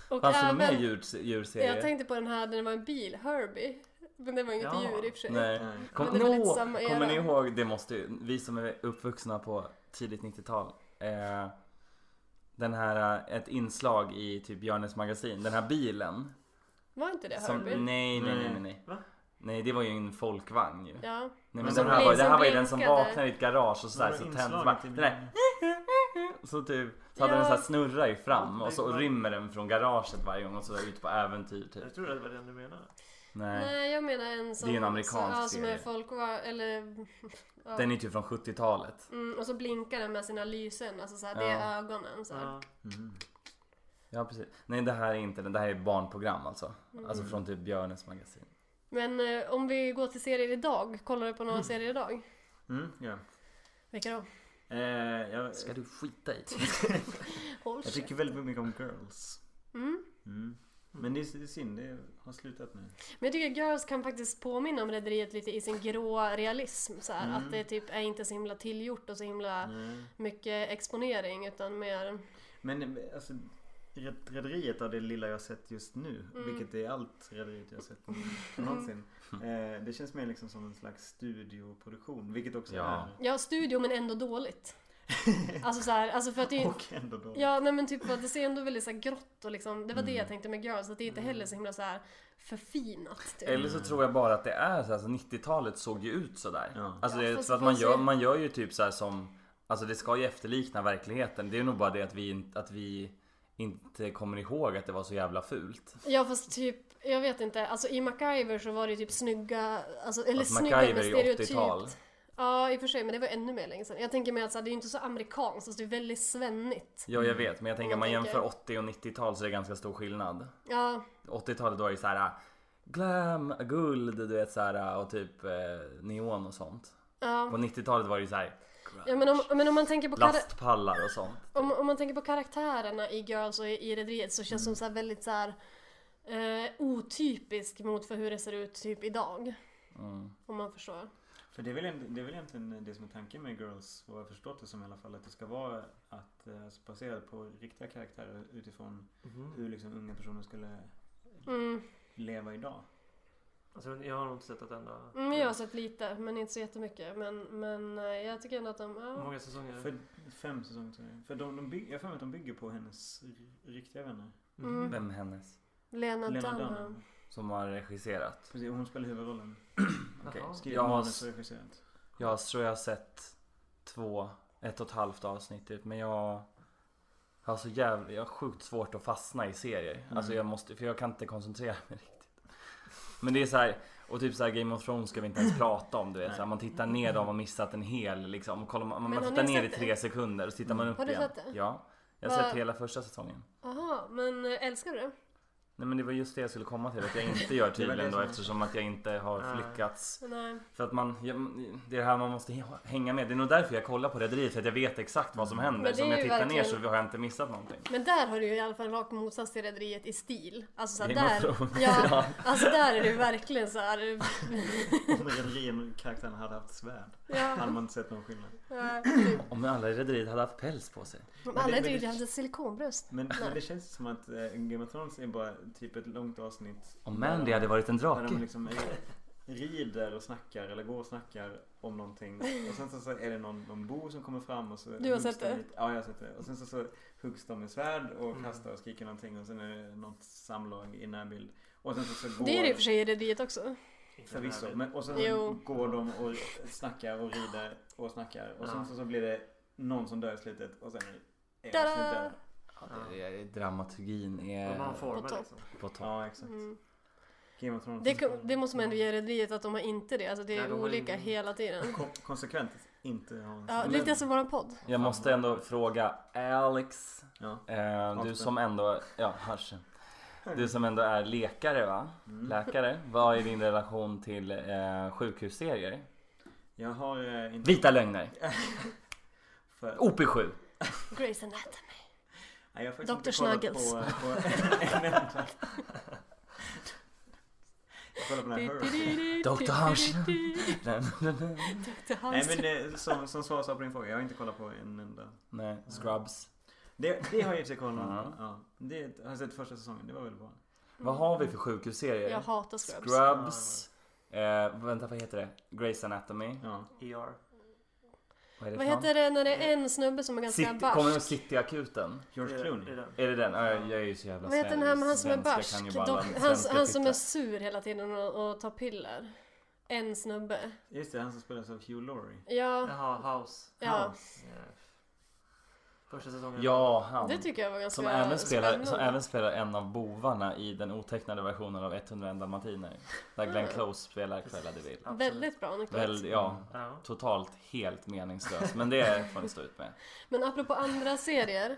Och
Fanns det någon mer
även...
djur, djurserie?
Jag tänkte på den här där det var en bil, Herbie. Men det var inget
Ja.
djur i och för sig.
Nej.
Nej.
Kom,
Men det var
nå,
lite samma era.
kommer ni ihåg, det måste ju, vi som är uppvuxna på tidigt 90-tal. Eh, den här, eh, ett inslag i typ Björnes magasin, den här bilen.
Var inte det
Som,
Herbie?
nej, nej, nej, nej, nej.
Va?
Nej, det var ju en folkvagn ju.
Ja.
Nej, men
Som
den här
blin-
var, det här
som
var ju den som
blinkade.
vaknade i ett garage och sådär
Några
så tänds
inslag
bara.
till
Den där, [LAUGHS] så typ, så hade
Ja.
den såhär snurrar ju fram och så rymmer den från garaget varje gång och så ut på äventyr typ.
Jag tror det var den du menade.
Nej.
Nej, jag menar en som...
Det är en amerikansk
som, ja, som är
serie.
folk eller... [LAUGHS] Ja.
Den är typ från 70-talet.
mm, och så blinkar den med sina lysen, alltså såhär, det
Ja.
är ögonen så här.
Ja.
mm.
Ja precis. Nej det här är inte den. Det här är barnprogram alltså.
Mm.
Alltså från typ Björnes magasin.
Men eh, om vi går till serier idag, kollar du på några serier idag?
Mm, ja.
Vilka då?
Eh, jag,
Ska du skita i?
Håll
jag
käft.
tycker väldigt mycket om girls.
Mm.
Mm. Men det är, det är synd, det har slutat nu.
Men jag tycker Girls kan faktiskt påminna om Rederiet lite i sin gråa realism. Så här,
Mm.
Att det typ är inte så himla tillgjort och så himla
Nej.
mycket exponering utan mer...
Men eh, alltså, Red- Rederiet av det lilla jag sett just nu,
Mm.
vilket är allt Rederiet
[LAUGHS]
jag sett någonsin. Eh, det känns mer liksom som en slags studioproduktion, vilket också
Ja.
är.
Ja, studio men ändå
[LAUGHS]
dåligt. Alltså så här, alltså för att det är...
Och ändå då.
Ja, nej men typ att det ser ändå väldigt så här grått och liksom, det var
Mm.
det jag tänkte med Girls, att det är inte heller så himla så här förfinat.
[LAUGHS]
Typ.
Eller så tror jag bara att det är så. Alltså 90-talet såg ju ut sådär.
Ja.
Alltså
Ja,
det,
fast
för att man
man
gör,
ser-
man gör ju typ så här som... Alltså det ska ju efterlikna verkligheten. Det är nog bara det att vi, in- att vi inte kommer ihåg att det var så jävla fult.
Ja fast typ, jag vet inte, alltså i MacGyver så var det ju typ snygga, alltså, eller
Fast
snygga
MacGyver
men
är ju 80-tal.
stereotypt. Ja i och för sig, men det var ännu mer länge sedan. Jag tänker mig att så här, det är ju inte så amerikanskt, alltså det är väldigt svennigt.
Ja jag vet men jag tänker om man
tänker-
jämför 80 och 90-tal så är det ganska stor skillnad.
Ja,
80-talet var ju så här äh, glam, guld, du vet så här och typ eh, neon och sånt.
ja.
På 90-talet var det ju så här
ja men, om, men om man tänker på kar-
lastpallar och sånt.
om, om man tänker på karaktärerna i Girls och i, i Rederiet så känns
Mm.
de så här väldigt så här eh, otypisk mot för hur det ser ut typ idag.
Mm.
Om man förstår.
För det är, väl, en- det är väl egentligen det som är tanken med Girls, vad jag har förstått det som i alla fall, att det ska vara att eh, alltså, baserat på riktiga karaktärer utifrån
Mm-hmm.
hur liksom unga personer skulle
Mm.
leva idag.
Alltså, jag har nog inte sett ett enda.
Mm, jag har sett lite, men inte så jättemycket. Men, men eh, jag tycker ändå att de...
Hur
Ja.
många säsonger?
För fem säsonger tror jag. För de, de bygger, jag har för mig att de bygger på hennes r- riktiga vänner.
Mm.
Vem hennes?
Lena,
Lena
Dunham.
Dunham.
Som har regisserat.
Precis, och hon spelar huvudrollen.
Okej.
Jaha.
Skrivit
Jag har
manus
s-
och regisserat.
Jag tror jag har sett två, ett och ett halvt avsnitt ut men jag jag har så jävla, jag har sjukt svårt att fastna i serier.
Mm.
Alltså jag måste, för jag kan inte koncentrera mig [LAUGHS] riktigt. Men det är så här, och typ så här Game of Thrones ska vi inte
[LAUGHS]
ens prata om du vet. Så här, man tittar ner då har man missat en hel liksom. Och kollar, man,
Mm. har
man
ni
tittar ner i
sett Mm.
tre sekunder och så tittar man upp
Har du
igen.
sett det?
Ja. Jag har
Vad-
sett hela första säsongen.
Aha, men eh, älskar du det?
Nej men det var just det jag skulle komma till att jag
[LAUGHS]
inte gör tydligen då
som-
eftersom att jag inte har
Nej.
lyckats
Nej.
För att man, ja, det är det här man måste he- hänga med. Det är nog därför jag kollar på Rederiet, för att jag vet exakt vad som händer.
Mm. Men det
Så om
är
jag
ju
tittar ner så
verkligen-
har jag inte missat någonting.
Men där har du ju i alla fall rakt motsats till Rederiet i stil. Alltså såhär
Game of
där...
Thrones.
Ja, alltså där är du verkligen såhär...
Om rederikaraktären hade haft svärd
Ja,
hade man inte sett någon skillnad.
ja, typ.
Om alla i Rederiet hade haft päls på sig.
Men
det-
alla
men
är ju
det-
hade silikonbröst.
Men, men det känns som att eh, Game of Thrones är bara typ ett långt avsnitt.
Om Mandy hade varit en
Där de
drake.
liksom är- rider och snackar eller går och snackar om någonting. Och sen så, så är det någon, någon bo som kommer fram och så
Du har
huggs
sett
de
det?
lite- Ja, jag har sett det. Och sen så, så huggs de med svärd och
Mm.
kastar och skriker någonting och sen är det något samlag i närbild. Och sen så, så går...
Det är det i och för sig i Rederiet också.
Förvisso. Men, och sen
Jo.
går de och snackar och rider och snackar. Och sen så, så blir det någon som dör i slutet och sen är
Ta-da!
avsnittet död.
Ja, det är, dramaturgin
De har
är
en form
På topp.
liksom.
på topp.
Ja, exakt. Game of
Mm.
Thrones.
Det, kom- det måste man ändå ge Rederiet att de har inte det. Alltså det
Nej,
är
de har
olika
ingen-
hela tiden.
Kon- konsekvent inte ha en
Ja,
sån-
lite som våran podd.
Jag måste ändå fråga Alex.
Ja.
Eh, du
Hansson.
som ändå, ja Haschen. Du som ändå är läkare va?
Mm.
Läkare. Vad är din relation till eh, sjukhusserier?
Jag har eh, inte...
Vita lögner.
För...
OP7.
Grace Anatomy.
Nej, jag har faktiskt
Dr.
inte kollat
Snuggles.
På, [LAUGHS] på en enda. Jag kollar på den här Her.
Dr. Haschen.
Dr.
Nej
Haschen.
men eh, som, som svar sa på din fråga, jag har inte kollat på en enda.
[LAUGHS] Nej, Scrubs.
Det, det har jag i och för sig kollat
Ja.
på. Ja. Det har jag sett första säsongen, det var väl bra.
Vad har vi för sjukhusserier?
Jag hatar Scrubs.
Scrubs. Eh, vänta, vad heter det? Grey's Anatomy.
Ja.
ER.
Vad, är det
Vad heter det när det är en snubbe som är ganska
City, Eh, kommer du
barsk?
Cityakuten?
George
Det är
Clooney.
den.
Är det den? Ja, jag jag är ju så jävla
Vad heter den här med han som är
svensk. Jag
barsk?
kan ju bara alla
Dock, han,
svenska
han som är
titlar.
sur hela tiden och, och tar piller. En snubbe.
Just det, han som spelas av Hugh Laurie.
Ja,
Jaha, House.
ja.
Hans.
Yeah. Första säsongen.
Ja, han.
Det tycker jag var ganska
Som även, spelar,
spännande.
som även spelar en av bovarna i den otecknade versionen av 101 dalmatiner. Där Glenn
Mm.
Close spelar Cruella de Vil.
Absolut.
Väldigt bra anekdot.
Väl, ja,
Ja.
totalt helt meningslös. Men det får ni stå ut med.
[LAUGHS] Men apropå andra serier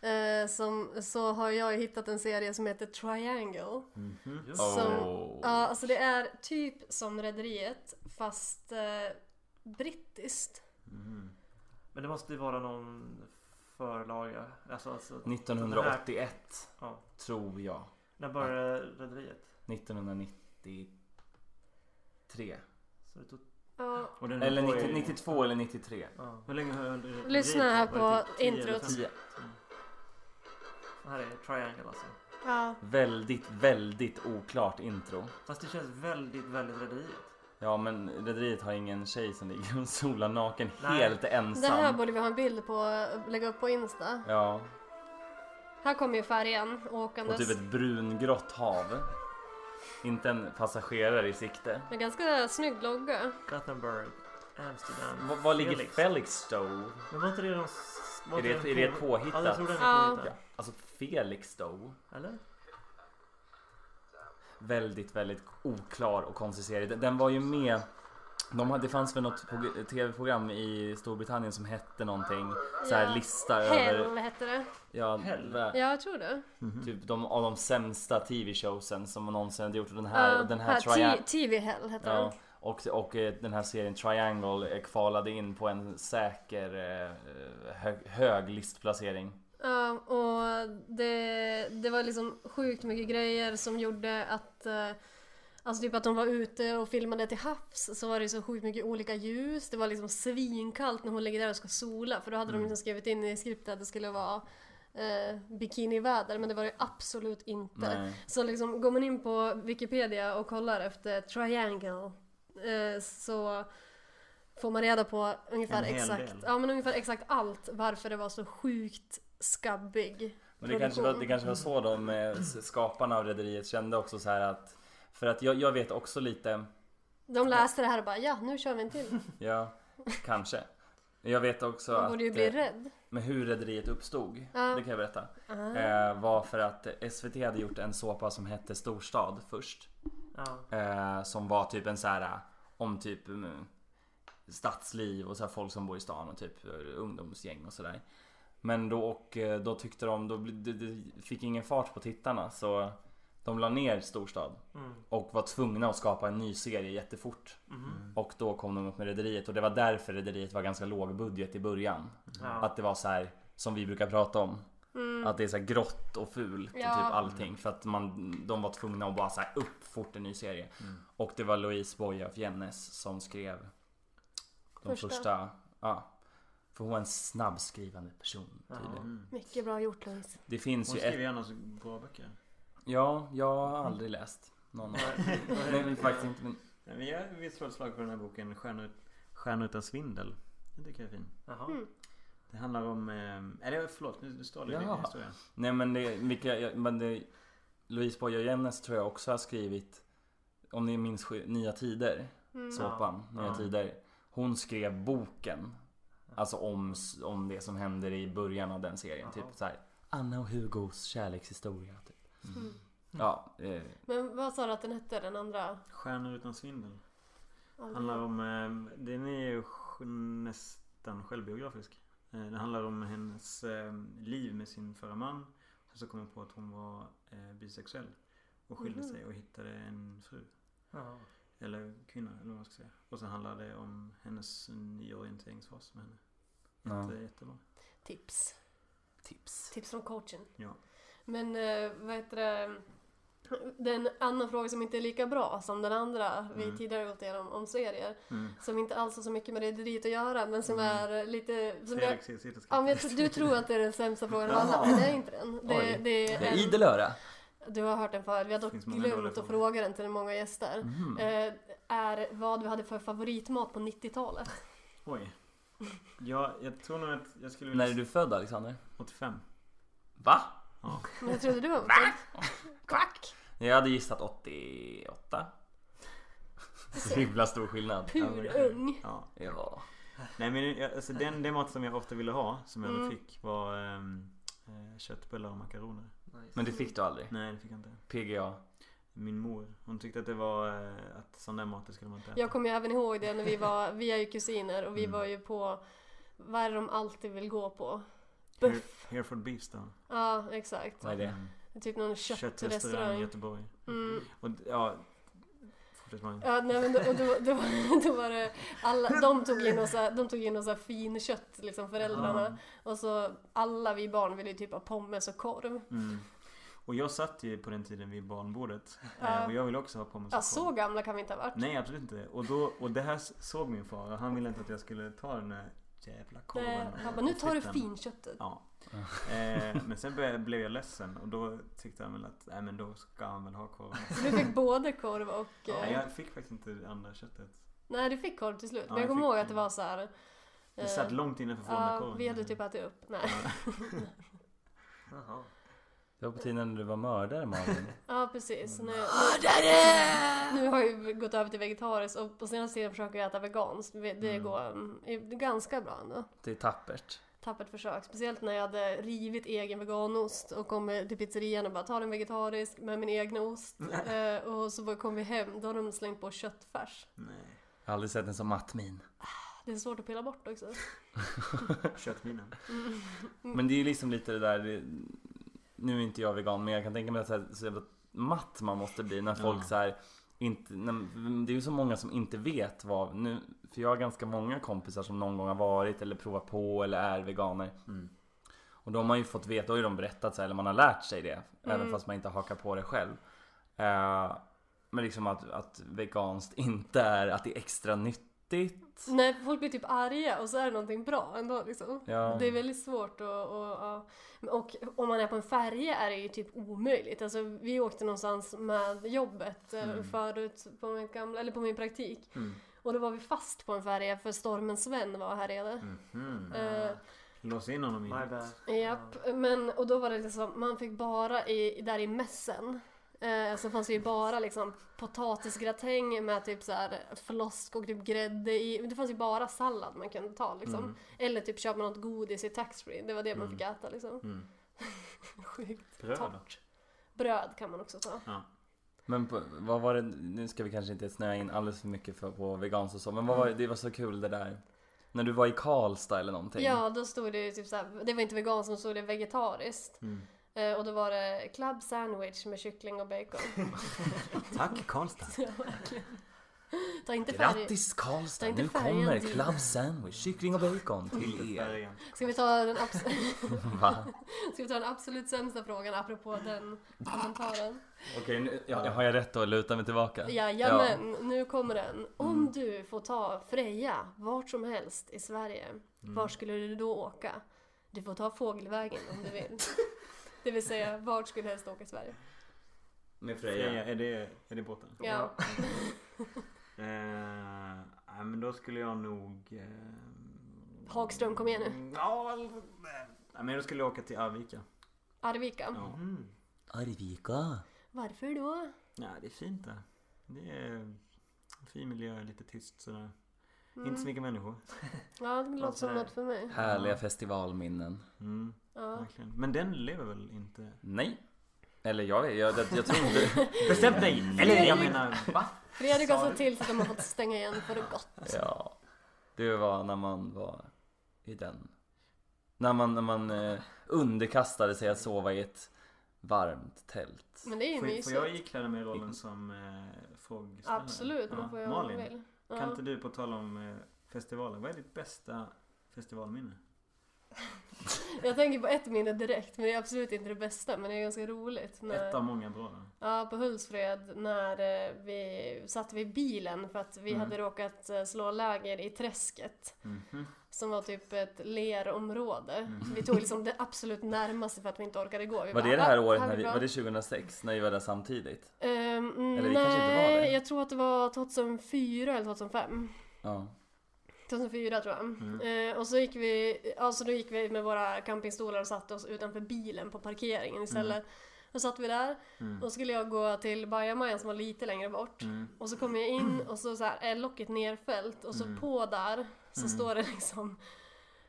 eh, som, så har jag ju hittat en serie som heter Triangle.
Just.
Som-
Oh.
Ja, alltså det är typ som Rederiet fast eh, brittiskt.
Mhm.
Men det måste ju vara någon förlaga. Alltså, alltså
1981
ja.
tror jag.
När började Rederiet?
1993.
Så det tog...
Ja,
Och den
Eller
var
90,
ju-
92 eller 93.
Ja.
Hur länge höll det?
Lyssna här på
typ tio eller
introt.
femton.
Tio.
Det här är Triangle alltså.
Ja.
Väldigt, väldigt oklart intro.
Fast det känns väldigt, väldigt Rederiet.
Ja men Rederiet har ingen tjej som ligger och solar naken
Nej.
helt
Det här
ensam.
borde vi ha en bild på, lägga upp på Insta.
Ja,
Här kommer ju färjan
och
åkandes.
typ ett brungrått hav. Inte en passagerare i sikte.
Med ganska snygg logga.
Gothenburg, Amsterdam,
V- var ligger
Felix.
Felixstowe?
Men var inte det de... var
Är det-
inte
är det ett
på-
påhittat?
Ja, jag tror det är
Ja.
påhittat.
Alltså Felixstowe?
Eller?
Väldigt, väldigt oklar och konstig serie. Den- Den var ju med... De hade, det fanns väl något prog- tv-program i Storbritannien som hette någonting. Så här
Ja.
lista över...
Hell Mm. hette det.
Ja,
Hell.
vä-
Ja, jag tror det.
Typ de, av de sämsta tv-showsen som någonsin hade gjort. Och den här,
Ja,
och den här
T-
Triangle...
TV Hell hette
Ja,
den.
och, och eh, den här serien Triangle eh, kvalade in på en säker eh, hög, hög listplacering.
Ja, och det, det var liksom sjukt mycket grejer som gjorde att eh, Alltså typ att de var ute och filmade till havs så var det så sjukt mycket olika ljus. Det var liksom svinkallt när hon ligger där och ska sola för då hade
Mm.
de liksom skrivit in i skriptet att det skulle vara eh, bikiniväder men det var det absolut inte.
Nej.
Så liksom, går man in på Wikipedia och kollar efter triangle eh, så får man reda på ungefär
En hel
exakt,
del.
ja, men ungefär exakt allt varför det var så sjukt skabbig.
Men det kanske, var, det kanske var så de eh, s- skaparna av Rederiet kände också så här att för att jag, jag vet också lite,
De läste det här och bara ja, nu kör vi en till.
ja, kanske. Men Jag vet också
Man borde ju bli
att eh,
rädd.
med hur Rederiet uppstod,
Ja.
det kan jag berätta,
Ah.
eh, var för att SVT hade gjort en såpa som hette Storstad först.
Ja.
Eh, som var typ en så här eh, om typ mm, stadsliv och så här folk som bor i stan och typ eh, ungdomsgäng och sådär. Men då och eh, då tyckte de, då bli- det, det fick ingen fart på tittarna så de la ner Storstad
Mm.
och var tvungna att skapa en ny serie jättefort.
Mhm.
Och då kom de upp med Rederiet och det var därför Rederiet var ganska låg budget i början.
Ja.
Att det var så här som vi brukar prata om.
Mm.
Att det är så här grått och fult
Ja.
och typ allting. För att man, de var tvungna att bara så här upp fort en ny serie. Och det var Louise Boye af Jennes som skrev de
Första.
första. ja. För hon var en snabbskrivande person tydligen.
Mycket bra gjort Louise.
Det finns
Mm. Hon
ju
skriver
ett...
gärna så bra böcker.
Ja, jag har aldrig läst någon av [LAUGHS]
[LAUGHS]
Nej men faktiskt inte. Men...
Nej, men jag vill slå ett slag för den här boken Stjärnor, Stjärnor utan svindel. Den tycker jag är fin.
Mm.
Jaha.
Det handlar om... Eh, eller förlåt, nu, nu står det i
Jaha.
din historia.
Nej men det, vilka, jag- men det, Louise Boye af Jennes tror jag också har skrivit om ni minns Sky- Nya Tider.
Mm.
såpan, Nya
Ja.
Tider. Hon skrev boken. Alltså om, om det som händer i början av den serien. Typ
Jaha.
så här, Anna och Hugos kärlekshistoria. Typ.
Mm.
Ja, eh,
Men vad sa du att den hette den andra?
Stjärnor utan svindel. Handlar om... Eh, den är ju sj- nästan självbiografisk. Eh, den handlar om hennes eh, liv med sin förra man. Sen så kom hon på att hon var eh, bisexuell. Och skilde
Mhm.
sig och hittade en fru.
Ja.
Eller kvinna eller vad man ska säga. Och sen handlar det om hennes nyorienteringsfas med henne.
Ja.
Jätte, Jättebra.
Tips.
tips.
Tips från coachen.
Ja.
Men eh, vad heter det? Det är en annan fråga som inte är lika bra som den andra vi
Mm.
tidigare gått igenom om serier.
Mm.
Som inte alls har så mycket med rederiet att göra men som är lite... Som jag,
Felix sitter och
Alltså, ja, men jag, tror- du tror att det är den sämsta frågan av alla
Jaha.
men det är inte den. Det,
Oj.
det
Det är
är en,
idel öra.
du har hört den förut, vi har dock
Finns många dåliga
glömt att
frågor. Mm.
fråga den till många gäster.
Mhm.
Eh, är vad vi hade för favoritmat på
[LAUGHS]
90-talet.
[LAUGHS] Oj. Ja, jag tror nog att jag skulle vilja...
När är du född Alexander?
85.
Va?
Men jag trodde du var Va? Quack!
Jag hade gissat 88. [LAUGHS] Så himla stor skillnad.
Pur ung.
Ja.
Ja.
Nej men jag- alltså, den, det mat som jag ofta ville ha som jag
Mm.
aldrig fick var ehm, eh, köttbullar och makaroner.
Nice.
Men det fick du aldrig?
Nej det fick jag inte.
PGA?
Min mor, hon tyckte att det var eh, att sån där mat det skulle man inte äta.
Jag kommer ju även ihåg det när vi var, vi är ju kusiner och vi
Mm.
var ju på, vad är det de alltid vill gå på? Buff.
Here, Hereford Beef Stone.
Ja, exakt.
Vad är det?
Mm.
Typ någon
Köttrestaurang i
köttrestaurang.
Göteborg.
Mm.
Och d- ja, fortsätt Magnus.
Ja, nej, men då, och då, då, då [LAUGHS] var det alla, de tog in oss, de tog in oss så här finkött liksom föräldrarna. Och så alla vi barn ville ju typ ha pommes och korv.
Mm. Och jag satt ju på den tiden vid barnbordet.
Ja.
Eh, Och jag ville också ha pommes
Ja,
och
så
korv.
gamla kan vi inte ha varit.
Nej absolut inte. Och, då, och det här s- såg min far och han ville inte att jag skulle ta den där jävla korven.
Nej,
och-
han bara, nu
och
tar du
frittan."
finköttet.
Ja. Eh, men sen började, blev jag ledsen och då tyckte han väl att nej men då ska han väl ha korven.
Så du fick både korv och... eh,
Nej, jag fick faktiskt inte det andra köttet.
Nej, du fick korv till slut.
Ja,
men jag
jag
kommer
fick-
ihåg att det var så här.
Det satt långt inne för formen
Eh, Ja, vi hade typ
[LAUGHS]
ätit upp. Nej.
Jaha.
Det var på tiden när du var mördare Malin.
Ja, precis. Nu, nu, nu har jag ju gått över till vegetariskt och på senaste tiden försöker jag äta veganskt. Det det
Mm.
går mm, det är ganska bra ändå.
Det är tappert.
Tappert försök. Speciellt när jag hade rivit egen veganost och kom till pizzerian och bara ta den vegetarisk med min egna ost. Eh, och så bara kom vi hem, då har de slängt på köttfärs.
Nej.
Jag har aldrig sett en sån mattmin.
Det är svårt att pilla bort också.
Köttminen.
Men det är ju liksom lite det där, det- nu är inte jag vegan men jag kan tänka mig att så, här, så jävla matt man måste bli när folk
Ja.
så här inte, när, det är ju så många som inte vet vad, nu, för jag har ganska många kompisar som någon gång har varit eller provat på eller är veganer.
Mm.
Och då har man ju fått veta, då har ju de berättat så här, eller man har lärt sig det. Även
Mm.
fast man inte hakar på det själv. Eh, men liksom att, att veganskt [LAUGHS] inte är, att det är extra nyttigt.
Nej, folk blir typ arga och så är det någonting bra ändå liksom.
Ja.
Det är väldigt svårt att... Och, ja. och om man är på en färja är det ju typ omöjligt. Alltså, vi åkte någonstans med jobbet eh, förut på min, gamla, eller på min praktik.
Mm.
Och då var vi fast på en färja för stormen Sven var här nere.
Mhm.
Eh,
Lås in honom i
My bad.
Japp, men och då var det liksom, man fick bara i, där i mässen. Eh, så fanns det ju bara liksom potatisgratäng med typ så här flosk och typ grädde i. Det fanns ju bara sallad man kunde ta liksom. Eller typ köpa något godis i taxfree. Det var det man fick äta liksom.
Mm. Mm.
[LAUGHS] Sjukt
Bröd då?
torrt. Bröd kan man också ta.
Men på, vad var det, nu ska vi kanske inte snöa in alldeles för mycket för, på vegans och så. Men vad
Mm.
var det, det var så kul det där. När du var i Karlstad eller någonting.
Ja, då stod det ju typ såhär, det var inte veganskt, men stod det vegetariskt.
Mm.
Eh, och då var det club sandwich med kyckling och bacon. [LAUGHS]
Tack Karlstad.
Ja, verkligen. Ta inte färg.
Grattis Karlstad!
Tänkte
Nu
färgen
kommer
till-
Club Sandwich, kyckling och
[LAUGHS]
bacon till er.
Färgen.
Ska vi ta den absolut
Va?
Ska vi ta den absolut sämsta frågan apropå den
Ah.
kommentaren?
Okej, nu, ja, har jag rätt då? Luta mig tillbaka.
Jajamän, nu kommer den. Om
Mm.
du får ta Freja vart som helst i Sverige,
Mm.
var skulle du då åka? Du får ta fågelvägen om du
[LAUGHS]
vill. Det vill säga, vart skulle du helst åka i Sverige?
Med
Freja, är det, är det båten?
Ja.
Eh, nej, men då skulle jag nog... Eh,
Hagström, kom igen nu.
mm, Ja, nej. Nej, men då skulle jag åka till Arvika.
Arvika.
Ja.
Mm. Arvika.
Varför då?
Ja, det är fint där. Det är en fin miljö, lite tyst sådär. Inte så mycket Alltså, människor.
Mm. Ja, det låter som
Varför?
något för mig.
Härliga festivalminnen.
Mm,
Ja.
verkligen. Men den lever väl inte?
Nej. Eller jag vet, jag, jag, jag tror
[LAUGHS]
inte...
Bestämt nej!
Mm.
Eller jag menar, va?
Fredrik har sett till så att de har fått stänga igen för gott.
Ja. Det var när man var i den... När man, när man eh, underkastade sig att sova i ett varmt tält.
Men det är ju
Får, får jag
mysigt.
ikläda mig rollen som eh, frågeställare?
Absolut, man får göra vad man
Malin,
vill. Ja.
kan inte du på tal om eh, festivaler, vad är ditt bästa festivalminne?
Jag tänker på ett minne direkt, men det är absolut inte det bästa, men det är ganska roligt.
Ett
När,
av många bra då.
ja, på Hultsfred när eh, vi satt vid bilen för att vi
Mm.
hade råkat eh, slå läger i träsket.
Mhm.
Som var typ ett lerområde. Vi tog liksom det absolut närmaste för att vi inte orkade gå. Vi
Mm. Var
bara,
det det här
"Ah,
året,
är
när vi,
bra."
var det 2006? När vi var där samtidigt?
Ehm, mm,
Eller det kanske inte var
nej,
det.
jag tror att det var 2004 eller 2005.
Ja.
2004 tror jag.
Mm.
Eh, och så gick vi, alltså då gick vi med våra campingstolar och satte oss utanför bilen på
Mm.
parkeringen istället. Då satt vi där
Mm.
och skulle jag gå till Bajamajan som var lite längre bort. Och så kom jag in och så, så här, är locket nerfällt och så på där så står det liksom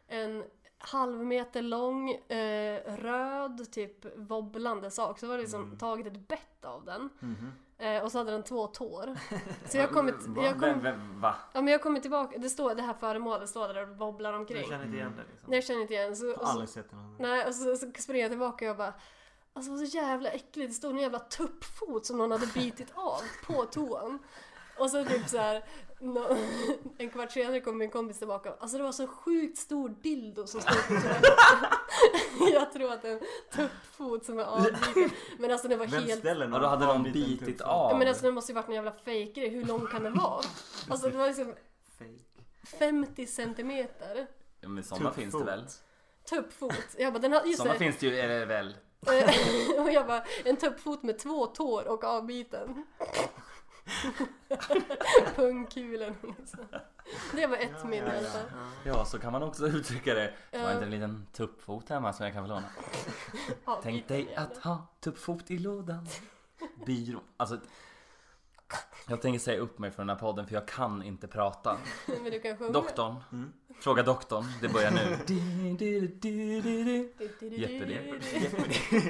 en halv meter lång eh, röd typ wobblande sak. Så var det liksom tagit ett bett av den.
Mhm.
Eh, och så hade den två tår. Så jag har kommit, jag
Vem,
kom,
vem, va?
ja, men jag har kommit tillbaka, det står det här föremålet står där och wobblar
Jag
omkring.
känner inte igen det liksom.
Nej, jag känner inte igen. Så,
Har
och så,
aldrig sett den. andra.
Alltså, Nej, och så, så springer jag tillbaka och jag bara Alltså det var så jävla äckligt, det stod en jävla tuppfot som någon hade bitit av på toan. Och så typ så här, nå- [LAUGHS] en kvart senare kom min kompis tillbaka Alltså det var så sjukt stor dildo som stod på toan. [LAUGHS] Jag tror att det är en tuppfot som är avbiten. Men alltså det var
Vem
helt...
ställer
Och då hade någon
avbiten
bitit
tupp?
av.
Men alltså det måste ju varit en jävla fejkgrej, hur lång kan den vara? Alltså det var liksom
Fake.
50 centimeter.
Ja, men sådana
Tuff
finns det väl?
Tuppfot. Jag bara, den har, just
Sådana
det,
finns det ju är det väl?
Eh, [LAUGHS] och jag bara, en tuppfot med två tår och avbiten. [LAUGHS] Pungkulen liksom. Det var ett minne i alla fall.
Ja, så kan man också [LAUGHS] uttrycka det. Jag har
Ja.
inte en liten tuppfot hemma som jag kan få låna.
Alltså, Avbiten,
Tänk dig att ha tuppfot i lådan. Byrå. Alltså, jag tänker säga upp mig från den här podden för jag kan inte prata.
jävlar. Men du kan sjunga.
Doktorn. Fråga doktorn. Det börjar nu. Jeopardy.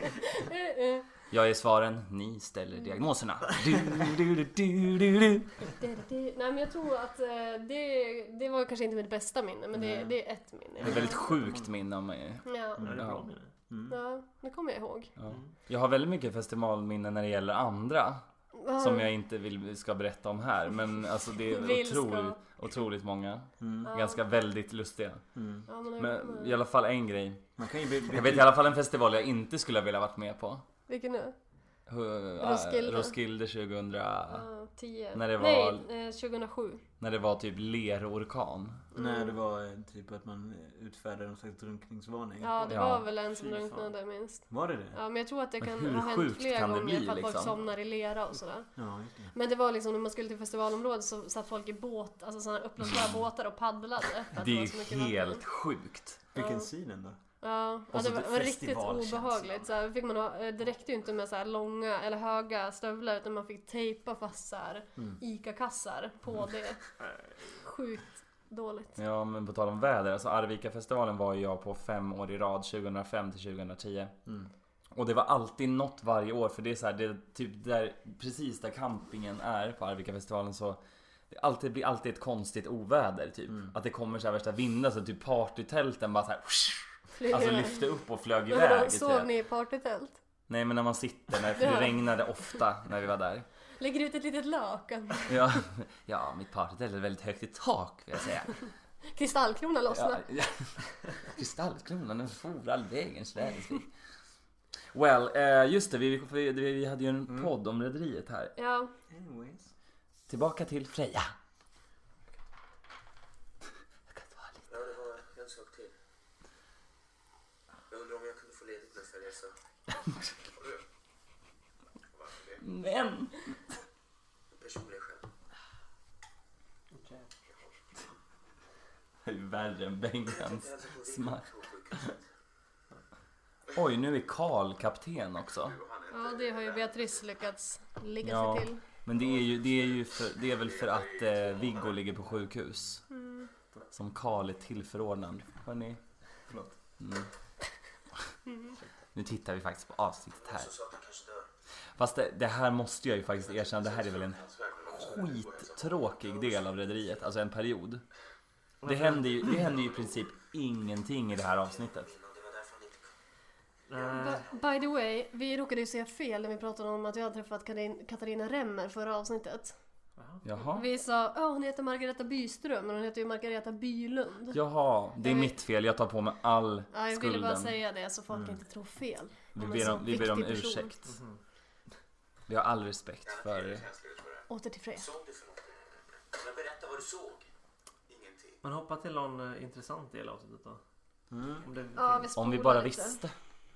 [LAUGHS]
[LAUGHS] Eh, eh.
Jag är svaren. Ni ställer diagnoserna.
Nej men jag tror att eh, det, det var kanske inte mitt bästa minne men det, det är ett minne.
Det är ett väldigt sjukt minne om mig.
Ja,
Ja, det är
Ja.
bra med det.
Mm.
ja,
Mm.
det kommer jag ihåg.
Ja. Jag har väldigt mycket festivalminnen när det gäller andra.
Vad har
Som
du-
jag inte vill, ska berätta om här. Men alltså det är
Vill ska.
otroligt, otroligt många.
Mm.
ja.
Ganska väldigt lustiga.
Ja, men,
Men i alla fall en grej.
Man kan ju bli, bli,
Jag vet i alla fall en festival jag inte skulle vilja varit med på.
Vilken nu?
Hu-
Roskilde.
äh, Roskilde 2000.
Ja, 10?
När det var-
Nej, eh, 2007.
När det var typ lerorkan.
Nej det var eh, typ att man eh, utfärdade någon slags drunkningsvarning.
Ja, det
Ja.
var väl en som
Fy fan.
drunknade minst.
Var det det?
Ja, men jag tror att det
Men
kan
hur
ha hänt
sjukt
flera
kan det
gånger
bli,
för att folk
liksom?
somnar i lera och sådär.
Ja, just det.
Men det var liksom när man skulle till festivalområdet så satt folk i båt, alltså sådana uppblåsbara båtar och paddlade. För
[LAUGHS]
att
Det
var så
är
mycket
helt
vatten.
sjukt.
Vilken syn ändå.
Ja, ja
så
det var,
det
var riktigt
festivalkänslan.
obehagligt. Så här, fick man ha, eh, det räckte ju inte med så här långa eller höga stövlar utan man fick tejpa fast så här
Mm.
ICA-kassar på
[LAUGHS]
det. Sjukt dåligt.
Ja men på tal om väder, alltså Arvika-festivalen var ju jag på fem år i rad, 2005 till 2010.
Mm.
Och det var alltid något varje år för det är så här, det är typ där, precis där campingen är på Arvika-festivalen så det alltid, blir alltid ett konstigt oväder typ. Att det kommer så här värsta vindar så typ partytälten bara så
[LAUGHS]
här,
Flyger
alltså
iväg.
lyfte upp och flög
Men vadå,
iväg.
[LAUGHS] Sov
typ.
ni i partytält?
Nej men när man sitter, när, för det
Ja.
regnade ofta när vi var där.
Lägger ut ett litet lakan?
Ja, ja mitt partytält är väldigt högt i tak vill jag säga.
[LAUGHS] Kristallkrona
Ja,
lossnar.
ja. [LAUGHS] Kristallkronan, den for all vägen Sverigesvik. Well, eh, just det, vi, vi, vi hade ju en podd om Rederiet här.
Ja,
Anyways.
Tillbaka till Freja. Jag kan ta lite.
Ja, det var en sak till. Jag undrar om jag kunde få ledigt nästa resa. Har du? Varför det?
Men!
Personliga skäl.
Det är ju värre än Bengans
Jag hälsade på Rickard
smack.
på sjukhuset.
Oj, nu är Karl kapten också.
ja det har ju Beatrice lyckats ligga
Ja,
sig till.
men det är ju, det är ju för, det är väl för att eh, Viggo ligger på sjukhus.
Mm.
Som Karl är tillförordnad. Hörni.
Förlåt.
Mm.
Mm.
Nu tittar vi faktiskt på avsnittet här.
Så sa att han kanske dör.
Fast det, det här måste jag ju faktiskt erkänna, det här är väl en skittråkig del av Rederiet, alltså en period. Det händer, ju, det händer ju i princip ingenting i det här avsnittet.
Innan det var därför han inte kom.
Nej,
Ba- By the way, vi råkade ju säga fel när vi pratade om att jag hade träffat Karin- Katarina Remmer förra avsnittet.
Jaha.
Vi sa åh hon heter Margareta Byström men hon heter ju Margareta Bylund.
Jaha, det är
Jag vet-
mitt fel. Jag tar på mig all
Ja, jag ville bara
skulden. Mm.
säga det så folk inte tror fel.
Vi
Hon är
ber
så
om, vi ber om
viktig person.
ursäkt.
Mhm.
Vi har all respekt för...
Åter till Freja.
Såg du för något? Men berätta vad du såg. Ingenting.
Men hoppa till någon eh, intressant del av avsnittet då. Om det
Ja,
finns.
vi
Om vi
spolar
bara
lite.
visste.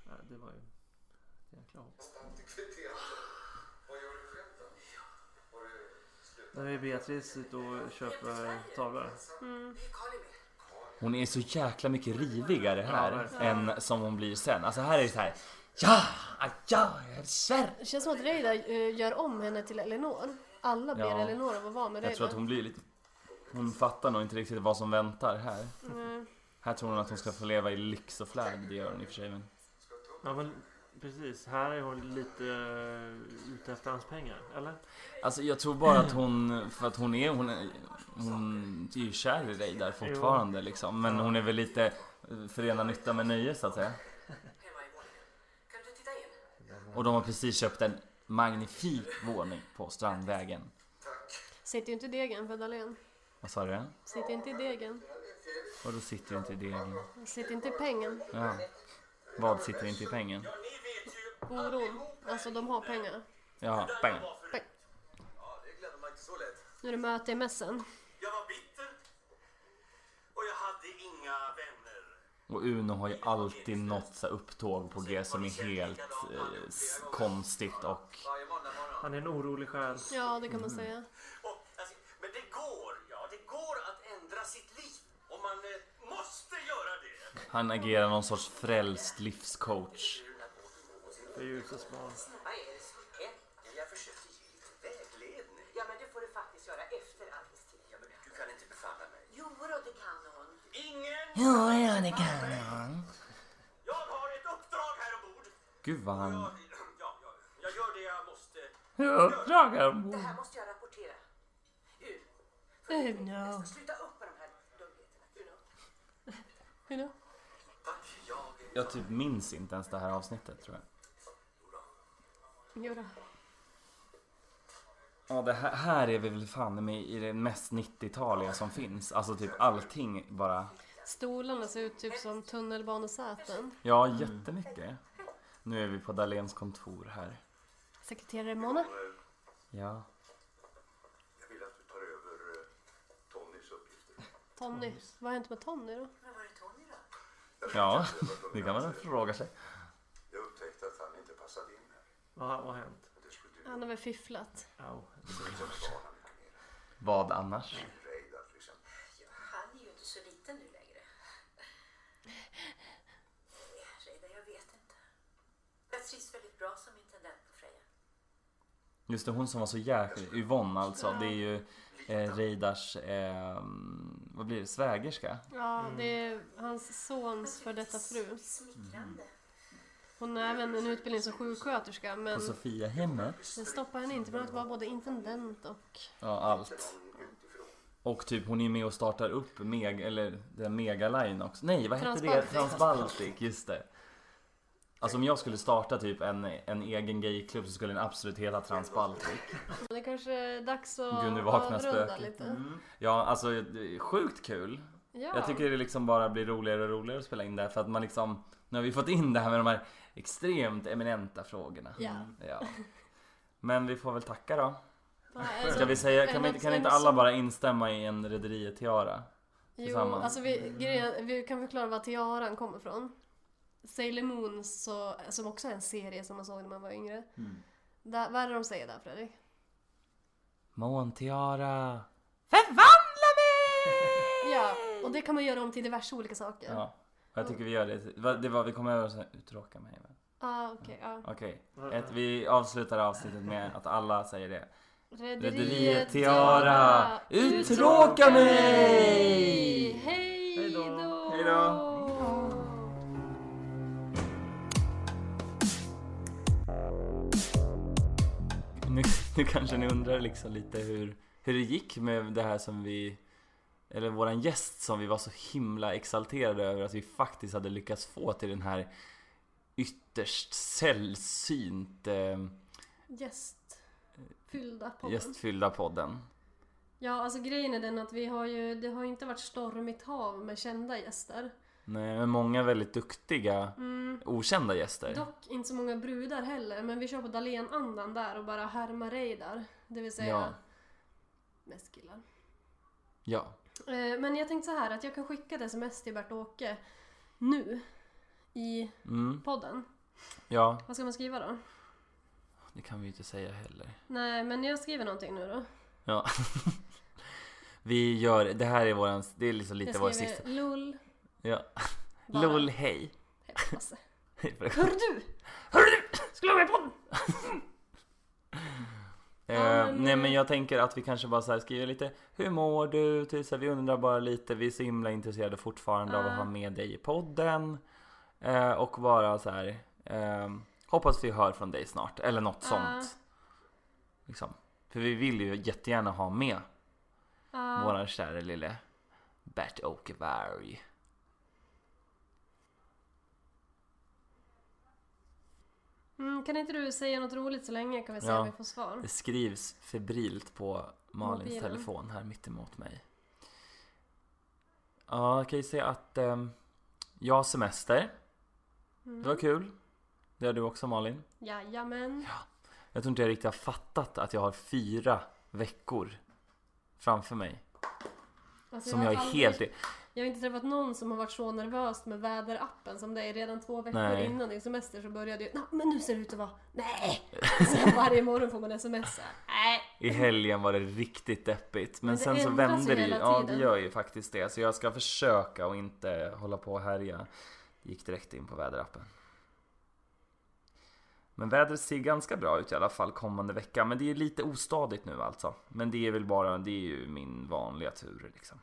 Ja, det var ju ett jäkla hopp.
Vad gör du själv då? Har du
Där är Beatrice ute och köper eh, tavlor.
Hon är så jäkla mycket rivigare
Ja,
här
verkligen.
än som hon blir sen. Alltså här är det så här. Ja, ja, jag är kär.
Det känns som att Reidar eh, gör om henne till Eleanor. Alla ber
Ja.
Eleanor om att vara med
Jag tror
Reidar.
att hon blir lite Hon fattar nog inte riktigt vad som väntar här.
Mm.
Här tror hon att hon ska få leva i lyx och flärd. Det gör hon i och för sig. Men...
Ja men precis, här är hon lite eh, ute efter hans pengar, eller?
Alltså jag tror bara att hon, för att hon är, hon är, hon är ju kär i dig där fortfarande liksom. Men hon är väl lite eh, förena nytta med nöje så att säga.
Hemma i våningen. Kan du titta in?
Och de har precis köpt en magnifik våning på Strandvägen.
Sitter ju inte i degen för Dahlén.
Vad sa du?
Sitter inte i degen.
Och då sitter inte i degen.
Sitter inte i pengen.
Ja. Vad sitter inte i pengen?
Oron. Alltså de har pengar.
Ja, pengen.
Ja, det glömmer man inte så lätt.
Nu är det möte i mässen.
Jag var bitter. Och jag hade inga vänner.
Och Uno har ju alltid något så här upptåg på G som är helt eh, s- konstigt och
Varje måndag morgon.
Han är en orolig själ.
Ja, det kan man säga.
Och, alltså, men det går, ja, det går att ändra sitt liv. Och man eh, måste göra det.
han agerar någon sorts frälst livscoach.
Det är ju så smart.
Vad är det som händer?
Jag försökte ge lite vägledning.
Ja, men det får du faktiskt göra efter arbetstid.
Ja, men du kan inte befalla mig.
Jo, då, det kan hon.
Ingen!
Ja, det kan han.
Jag har ett uppdrag här ombord.
Gud vad
Jag,
han...
ja, jag, jag gör det jag måste.
Uppdrag
Det
här
här måste jag rapportera. Uno.
Eh, no.
Sluta upp med de här dumheterna. Uno.
You know?
Tack, jag...
Jag typ minns inte ens det här avsnittet tror jag.
Jo då.
Ja, det här, här är vi väl fan med i det mest 90-taliga som finns. Alltså typ allting bara.
Stolarna ser ut typ som tunnelbanesäten.
Ja, jättemycket. Nu är vi på Dahléns kontor här.
Sekreterare Mona?
Ja.
eh, Jag vill att du tar över eh, Tonnys uppgifter.
Tony. Vad har hänt med Tony då?
Men var är Tony då?
Ja, [LAUGHS] det kan man väl fråga sig.
Jag upptäckte att han inte passade in här.
Vad har vad har hänt?
Det skulle du
Han har väl fifflat.
Au.
förklara mycket mer.
Vad annars?
Reidar till exempel.
Han är ju inte så liten nu längre. Reidar, jag vet inte. Jag trivs väldigt bra som intendent på Freja.
Just det, hon som var så jäkla... Yvonne alltså. Det är ju eh, Reidars... Eh, vad blir det? Svägerska?
Ja, det är hans sons för detta fru.
Smickrande.
Hon har även en utbildning som sjuksköterska men
På Sofia hemmet?
det stoppar henne inte från att vara både intendent och...
Ja, allt. Och typ hon är med och startar upp meg, eller den Megaline också. Nej, vad hette det?
Transbaltic.
Transbaltic, just det. Alltså om jag skulle starta typ en, en egen gayklubb så skulle den absolut heta Transbaltic.
Det kanske är dags att
Gud, nu vaknar
avrunda
spöket.
lite.
Ja, alltså det är sjukt kul.
Ja.
Jag tycker det liksom bara blir roligare och roligare att spela in det här för att man liksom Nu har vi fått in det här med de här extremt eminenta frågorna. Mm,
Ja.
Ja. Men vi får väl tacka då.
Vad är
Ska
det-
vi säga,
är
kan, vi,
något-
kan
är
inte
något
alla
som-
bara instämma i en Rederiet-tiara?
Jo,
tillsammans?
alltså vi, grejen, vi kan förklara var tiaran kommer ifrån. Sailor Moon, så, som också är en serie som man såg när man var yngre.
Mm.
Där, vad är det de säger där Fredrik?
Måntiara!
Ja, och det kan man göra om till diverse olika saker.
Ja. Jag tycker vi gör det. Va- Det var, vi kommer över så här, uttråka mig. va?
Ah, okej, ja.
Okej, Ett, vi avslutar avsnitt med att alla säger det. [LAUGHS]
Rederiet
Rederiet Tiara, uttråka mig!
Hej
Hej då.
då!
Hej då. Nu, nu kanske ni undrar liksom lite hur, hur det gick med det här som vi Eller våran gäst som vi var så himla exalterade över att vi faktiskt hade lyckats få till den här Ytterst sällsynt eh,
Gästfyllda podden.
gästfyllda podden
Ja, alltså grejen är den att vi har ju, det har ju inte varit stormigt hav med kända gäster. Mm.
Nej, men många väldigt duktiga okända gäster
Dock inte så många brudar heller, men vi kör på Dahlén-andan där och bara härmar Reidar. Det vill säga
Ja.
mest killar.
Ja,
Eh, Men jag tänkte så här att jag kan skicka ett sms till Bert-Åke nu i
mm,
podden.
ja,
Vad ska man skriva då?
det kan vi ju inte säga heller
Nej, men jag skriver någonting nu då.
Ja Vi gör, det här är våran, det är liksom lite vår
Jag
sista
skriver LOL.
[LAUGHS] Ja.
[LAUGHS] Bara.
LOL
[LAUGHS]
hej.
Hej, Lasse.
Hej på dig.
Hör du! Hör du! Skulle jag vara med i podden?
Eh,
Men-
Nej men jag tänker att vi kanske bara så här skriver lite Hur mår du? Till, så här, vi undrar bara lite, vi är så himla intresserade fortfarande av att
Ah.
ha med dig i podden eh, Och bara så här ehm, Hoppas vi hör från dig snart, eller något
Ah.
sånt liksom. För vi vill ju jättegärna ha med
Ja.
våran kära lille Bert Åkeberg
Mm, kan inte du säga något roligt så länge kan vi se
Ja.
om vi får svar?
Det skrivs febrilt på Malins
Mobilen.
telefon här mittemot mig. Ja, jag kan ju säga att ehm, jag har semester.
Mm.
Det var kul. Det har du också Malin.
Jajamän.
Jag tror inte jag riktigt har fattat att jag har fyra veckor framför mig.
Alltså,
Som
har
jag är
aldrig-
helt...
Jag har inte träffat någon som har varit så nervös med väderappen som dig. Redan två veckor
Nej.
innan din semester så började ju... "Nå, Men nu ser det ut att vara... Nej! [LAUGHS] Sen varje morgon får man smsa. Nej!
I helgen var det riktigt deppigt. Men,
Men det
sen så
ändras ju
vände det ju.
hela
Ja, det
tiden.
gör ju faktiskt det. Så jag ska försöka och inte hålla på och härja. Gick direkt in på väderappen. Men vädret ser ganska bra ut i alla fall kommande vecka. Men det är lite ostadigt nu alltså. Men det är väl bara, det är ju min vanliga tur liksom.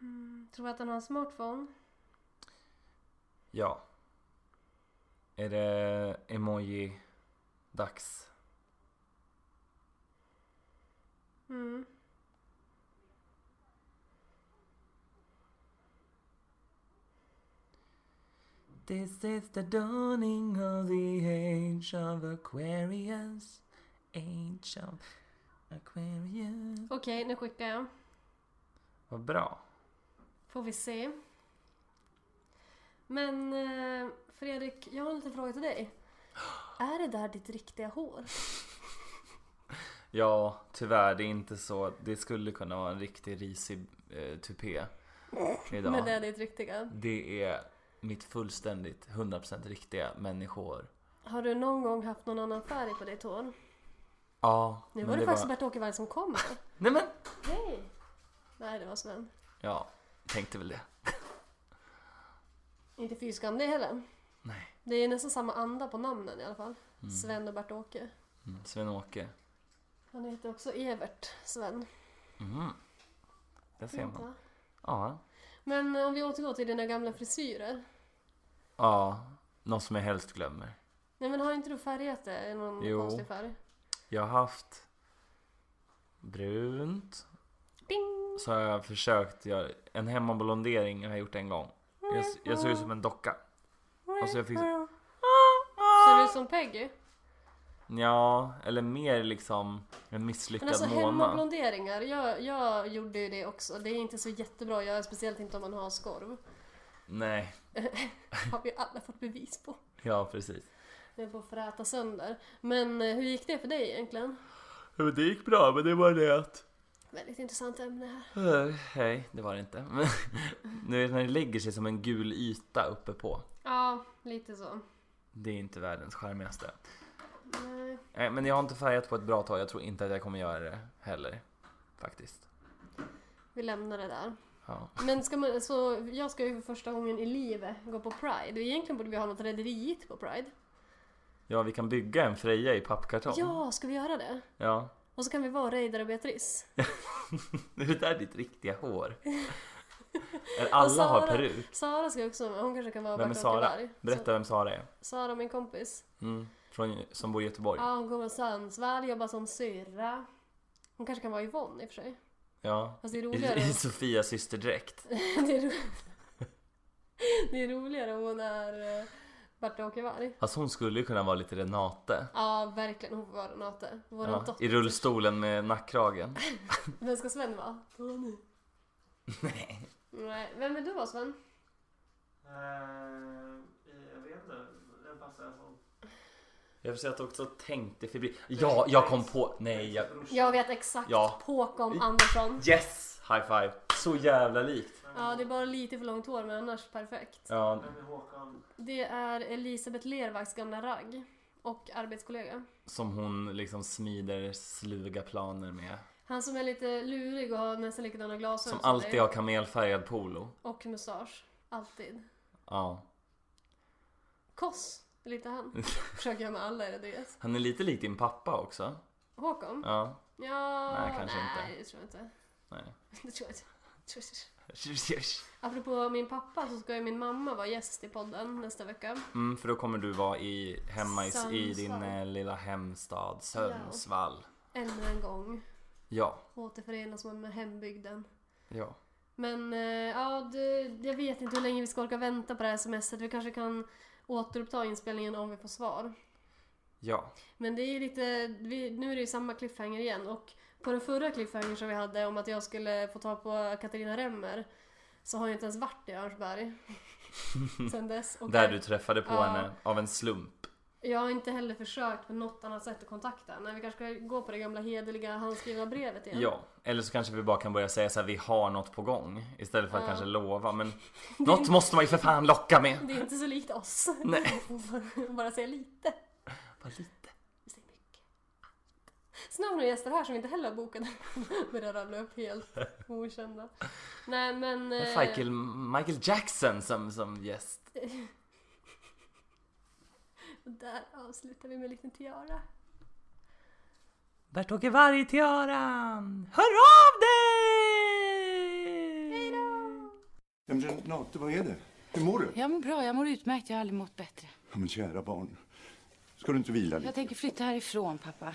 Mm, Tror att han har en smartphone?
Ja. Är det emoji-dags?
Mm.
This is the dawning of the age of Aquarius. Age of Aquarius.
Okej, nu skickar jag.
Vad bra.
Får vi se. Men eh, Fredrik, jag har en liten fråga
[GASPS]
till dig. Är det där ditt riktiga hår?
Ja, tyvärr, det är inte så. Det skulle kunna vara en riktig risig eh, tupé idag.
Men det är ditt riktiga.
Det är mitt fullständigt 100% riktiga människor.
Har du någon gång haft någon annan färg på ditt hår?
Ja,
Nu
men
var det, faktiskt
var-
Bert-Åke Wall som kom här.
Nej men!
Hej! [LAUGHS] Nej, det var Sven.
Ja, tänkte väl det.
Inte fy skam det heller.
Nej.
Det är nästan samma anda på namnen i alla fall. Sven och Bert-Åke.
Mm. Sven-Åke.
Han heter också Evert Sven.
Mm. Där ser man.
Va?
Ja.
Men om vi återgår till dina gamla frisyrer.
Ja, något som jag helst glömmer.
Nej men har inte du färgat det i någon
Jo.
konstig färg?
Jag har haft brunt.
Ping!
Så har jag försökt göra en hemmablondering har jag gjort en gång. Jag, jag såg ut som en docka. Alltså jag fick
Ser du ut som Peggy?
Ja, eller mer liksom en
Men
misslyckad
alltså
Mona.
hemmablonderingar, jag, jag gjorde ju det också. Det är inte så jättebra att göra, speciellt inte om man har skorv.
Nej,
har vi alla fått bevis på.
ja precis.
Jag får fräta sönder. Men eh, hur gick det för dig egentligen?
Ja, men Det gick bra, men det var det att...
Väldigt intressant ämne här.
Eh, Nej, det var det inte. Men, [LAUGHS] nu vet när det lägger sig som en gul yta uppe på.
Ja, lite så.
Det är inte världens charmigaste.
Nej.
Nej, men jag har inte färgat på ett bra tag. Jag tror inte att jag kommer göra det heller. Faktiskt.
Vi lämnar det där.
Ja.
Men ska man, så jag ska ju för första gången i livet gå på Pride. Och egentligen borde vi ha något rederiigt på Pride.
Ja, vi kan bygga en Freja i pappkartong.
Ja, ska vi göra det?
ja.
Och så kan vi vara Reidar och Beatrice.
Det där är ditt riktiga
[LAUGHS]
hår. Alla har
Sara.
peruk.
Sara ska också med. Hon kanske kan vara
Vem är
Bert
Sara?
Åkerberg.
Berätta vem Sara är.
Så, Sara, min kompis.
Mm. Från, som bor i Göteborg.
Ja, hon kommer från Sundsvall, jobbar som syrra. Hon kanske kan vara Yvonne i och för sig.
Ja.
Fast det är
I,
roligare
I Sofias systerdräkt.
[LAUGHS] Det är, ro... [LAUGHS] det är roligare om hon är eh, Bert-Åke Varg.
Alltså hon skulle ju kunna vara lite Renate.
Ja, verkligen. Hon får vara Renate. Vår
Ja,
dotter.
I rullstolen med nackkragen.
Vem ska Sven vara? Tony. Nej. Nej. Vem vill du vara Sven?
jag vet inte. Den passar som...
Jag får säga att jag också tänkte febrilt. Ja, jag kom på. Nej, jag...
Jag vet exakt.
Ja.
Håkon Andersson.
Yes! High five. Så jävla likt.
Ja, det är bara lite för långt hår men annars perfekt.
Ja,
är Håkan?
Det är Elisabeth Lervaks gamla ragg och arbetskollega.
som hon liksom smider sluga planer med.
Han som är lite lurig och har nästan likadana glasögon
Som alltid
dig.
har kamelfärgad polo.
Och mustasch. Alltid.
Ja.
Koss. Eller inte
[LAUGHS]
han. Försöker jag med alla, är det deras?
Han är lite lik din pappa också.
Håkon?
Ja.
Ja,
Nej, kanske
nej,
inte.
det tror jag inte. [LAUGHS]
Nej.
Det tror jag inte. Det tror jag inte. Apropå min pappa så ska ju min mamma vara gäst i podden nästa vecka.
Mm, för då kommer du vara i, hemma i, i din
Sundsvall.
eh, lilla hemstad Sundsvall.
Ännu en gång.
Ja.
Återförenas man med hembygden.
Ja.
Men eh, ja, det, jag vet inte hur länge vi ska orka vänta på det här smset. Vi kanske kan återuppta inspelningen om vi får svar.
Ja.
Men det är ju lite, vi, nu är det ju samma cliffhanger igen och på den förra cliffhanger som vi hade om att jag skulle få ta på Katarina Remmer så har jag inte ens varit i Örnsberg
[LAUGHS]
sen dess. Och
Där du träffade på
Ja.
henne av en slump.
Jag har inte heller försökt på något annat sätt att kontakta henne. Vi kanske ska gå på det gamla hederliga handskrivna brevet igen.
Ja. Eller så kanske vi bara kan börja säga så här, vi har något på gång. Istället för att
Ja.
kanske lova.
[LAUGHS]
Men något måste man ju för fan locka med.
Det är inte så likt oss. [LAUGHS]
Nej.
Bara säga lite.
Bara lite.
Vi säger mycket. Så nu har vi några gäster här som vi inte heller har bokat. [LAUGHS] Börjar rabbla upp helt okända. Nej men... eh,
Michael, Michael Jackson som, som gäst.
eh, Där avslutar vi med en liten tiara.
Bert-Åke Varg-tiaran! Hör av dig!
Ja, men Renate, vad är det? Hur mår du?
Jag mår bra, jag mår utmärkt. Jag har aldrig mått bättre.
Ja, men kära barn, ska du inte vila lite?
Jag tänker flytta härifrån, pappa.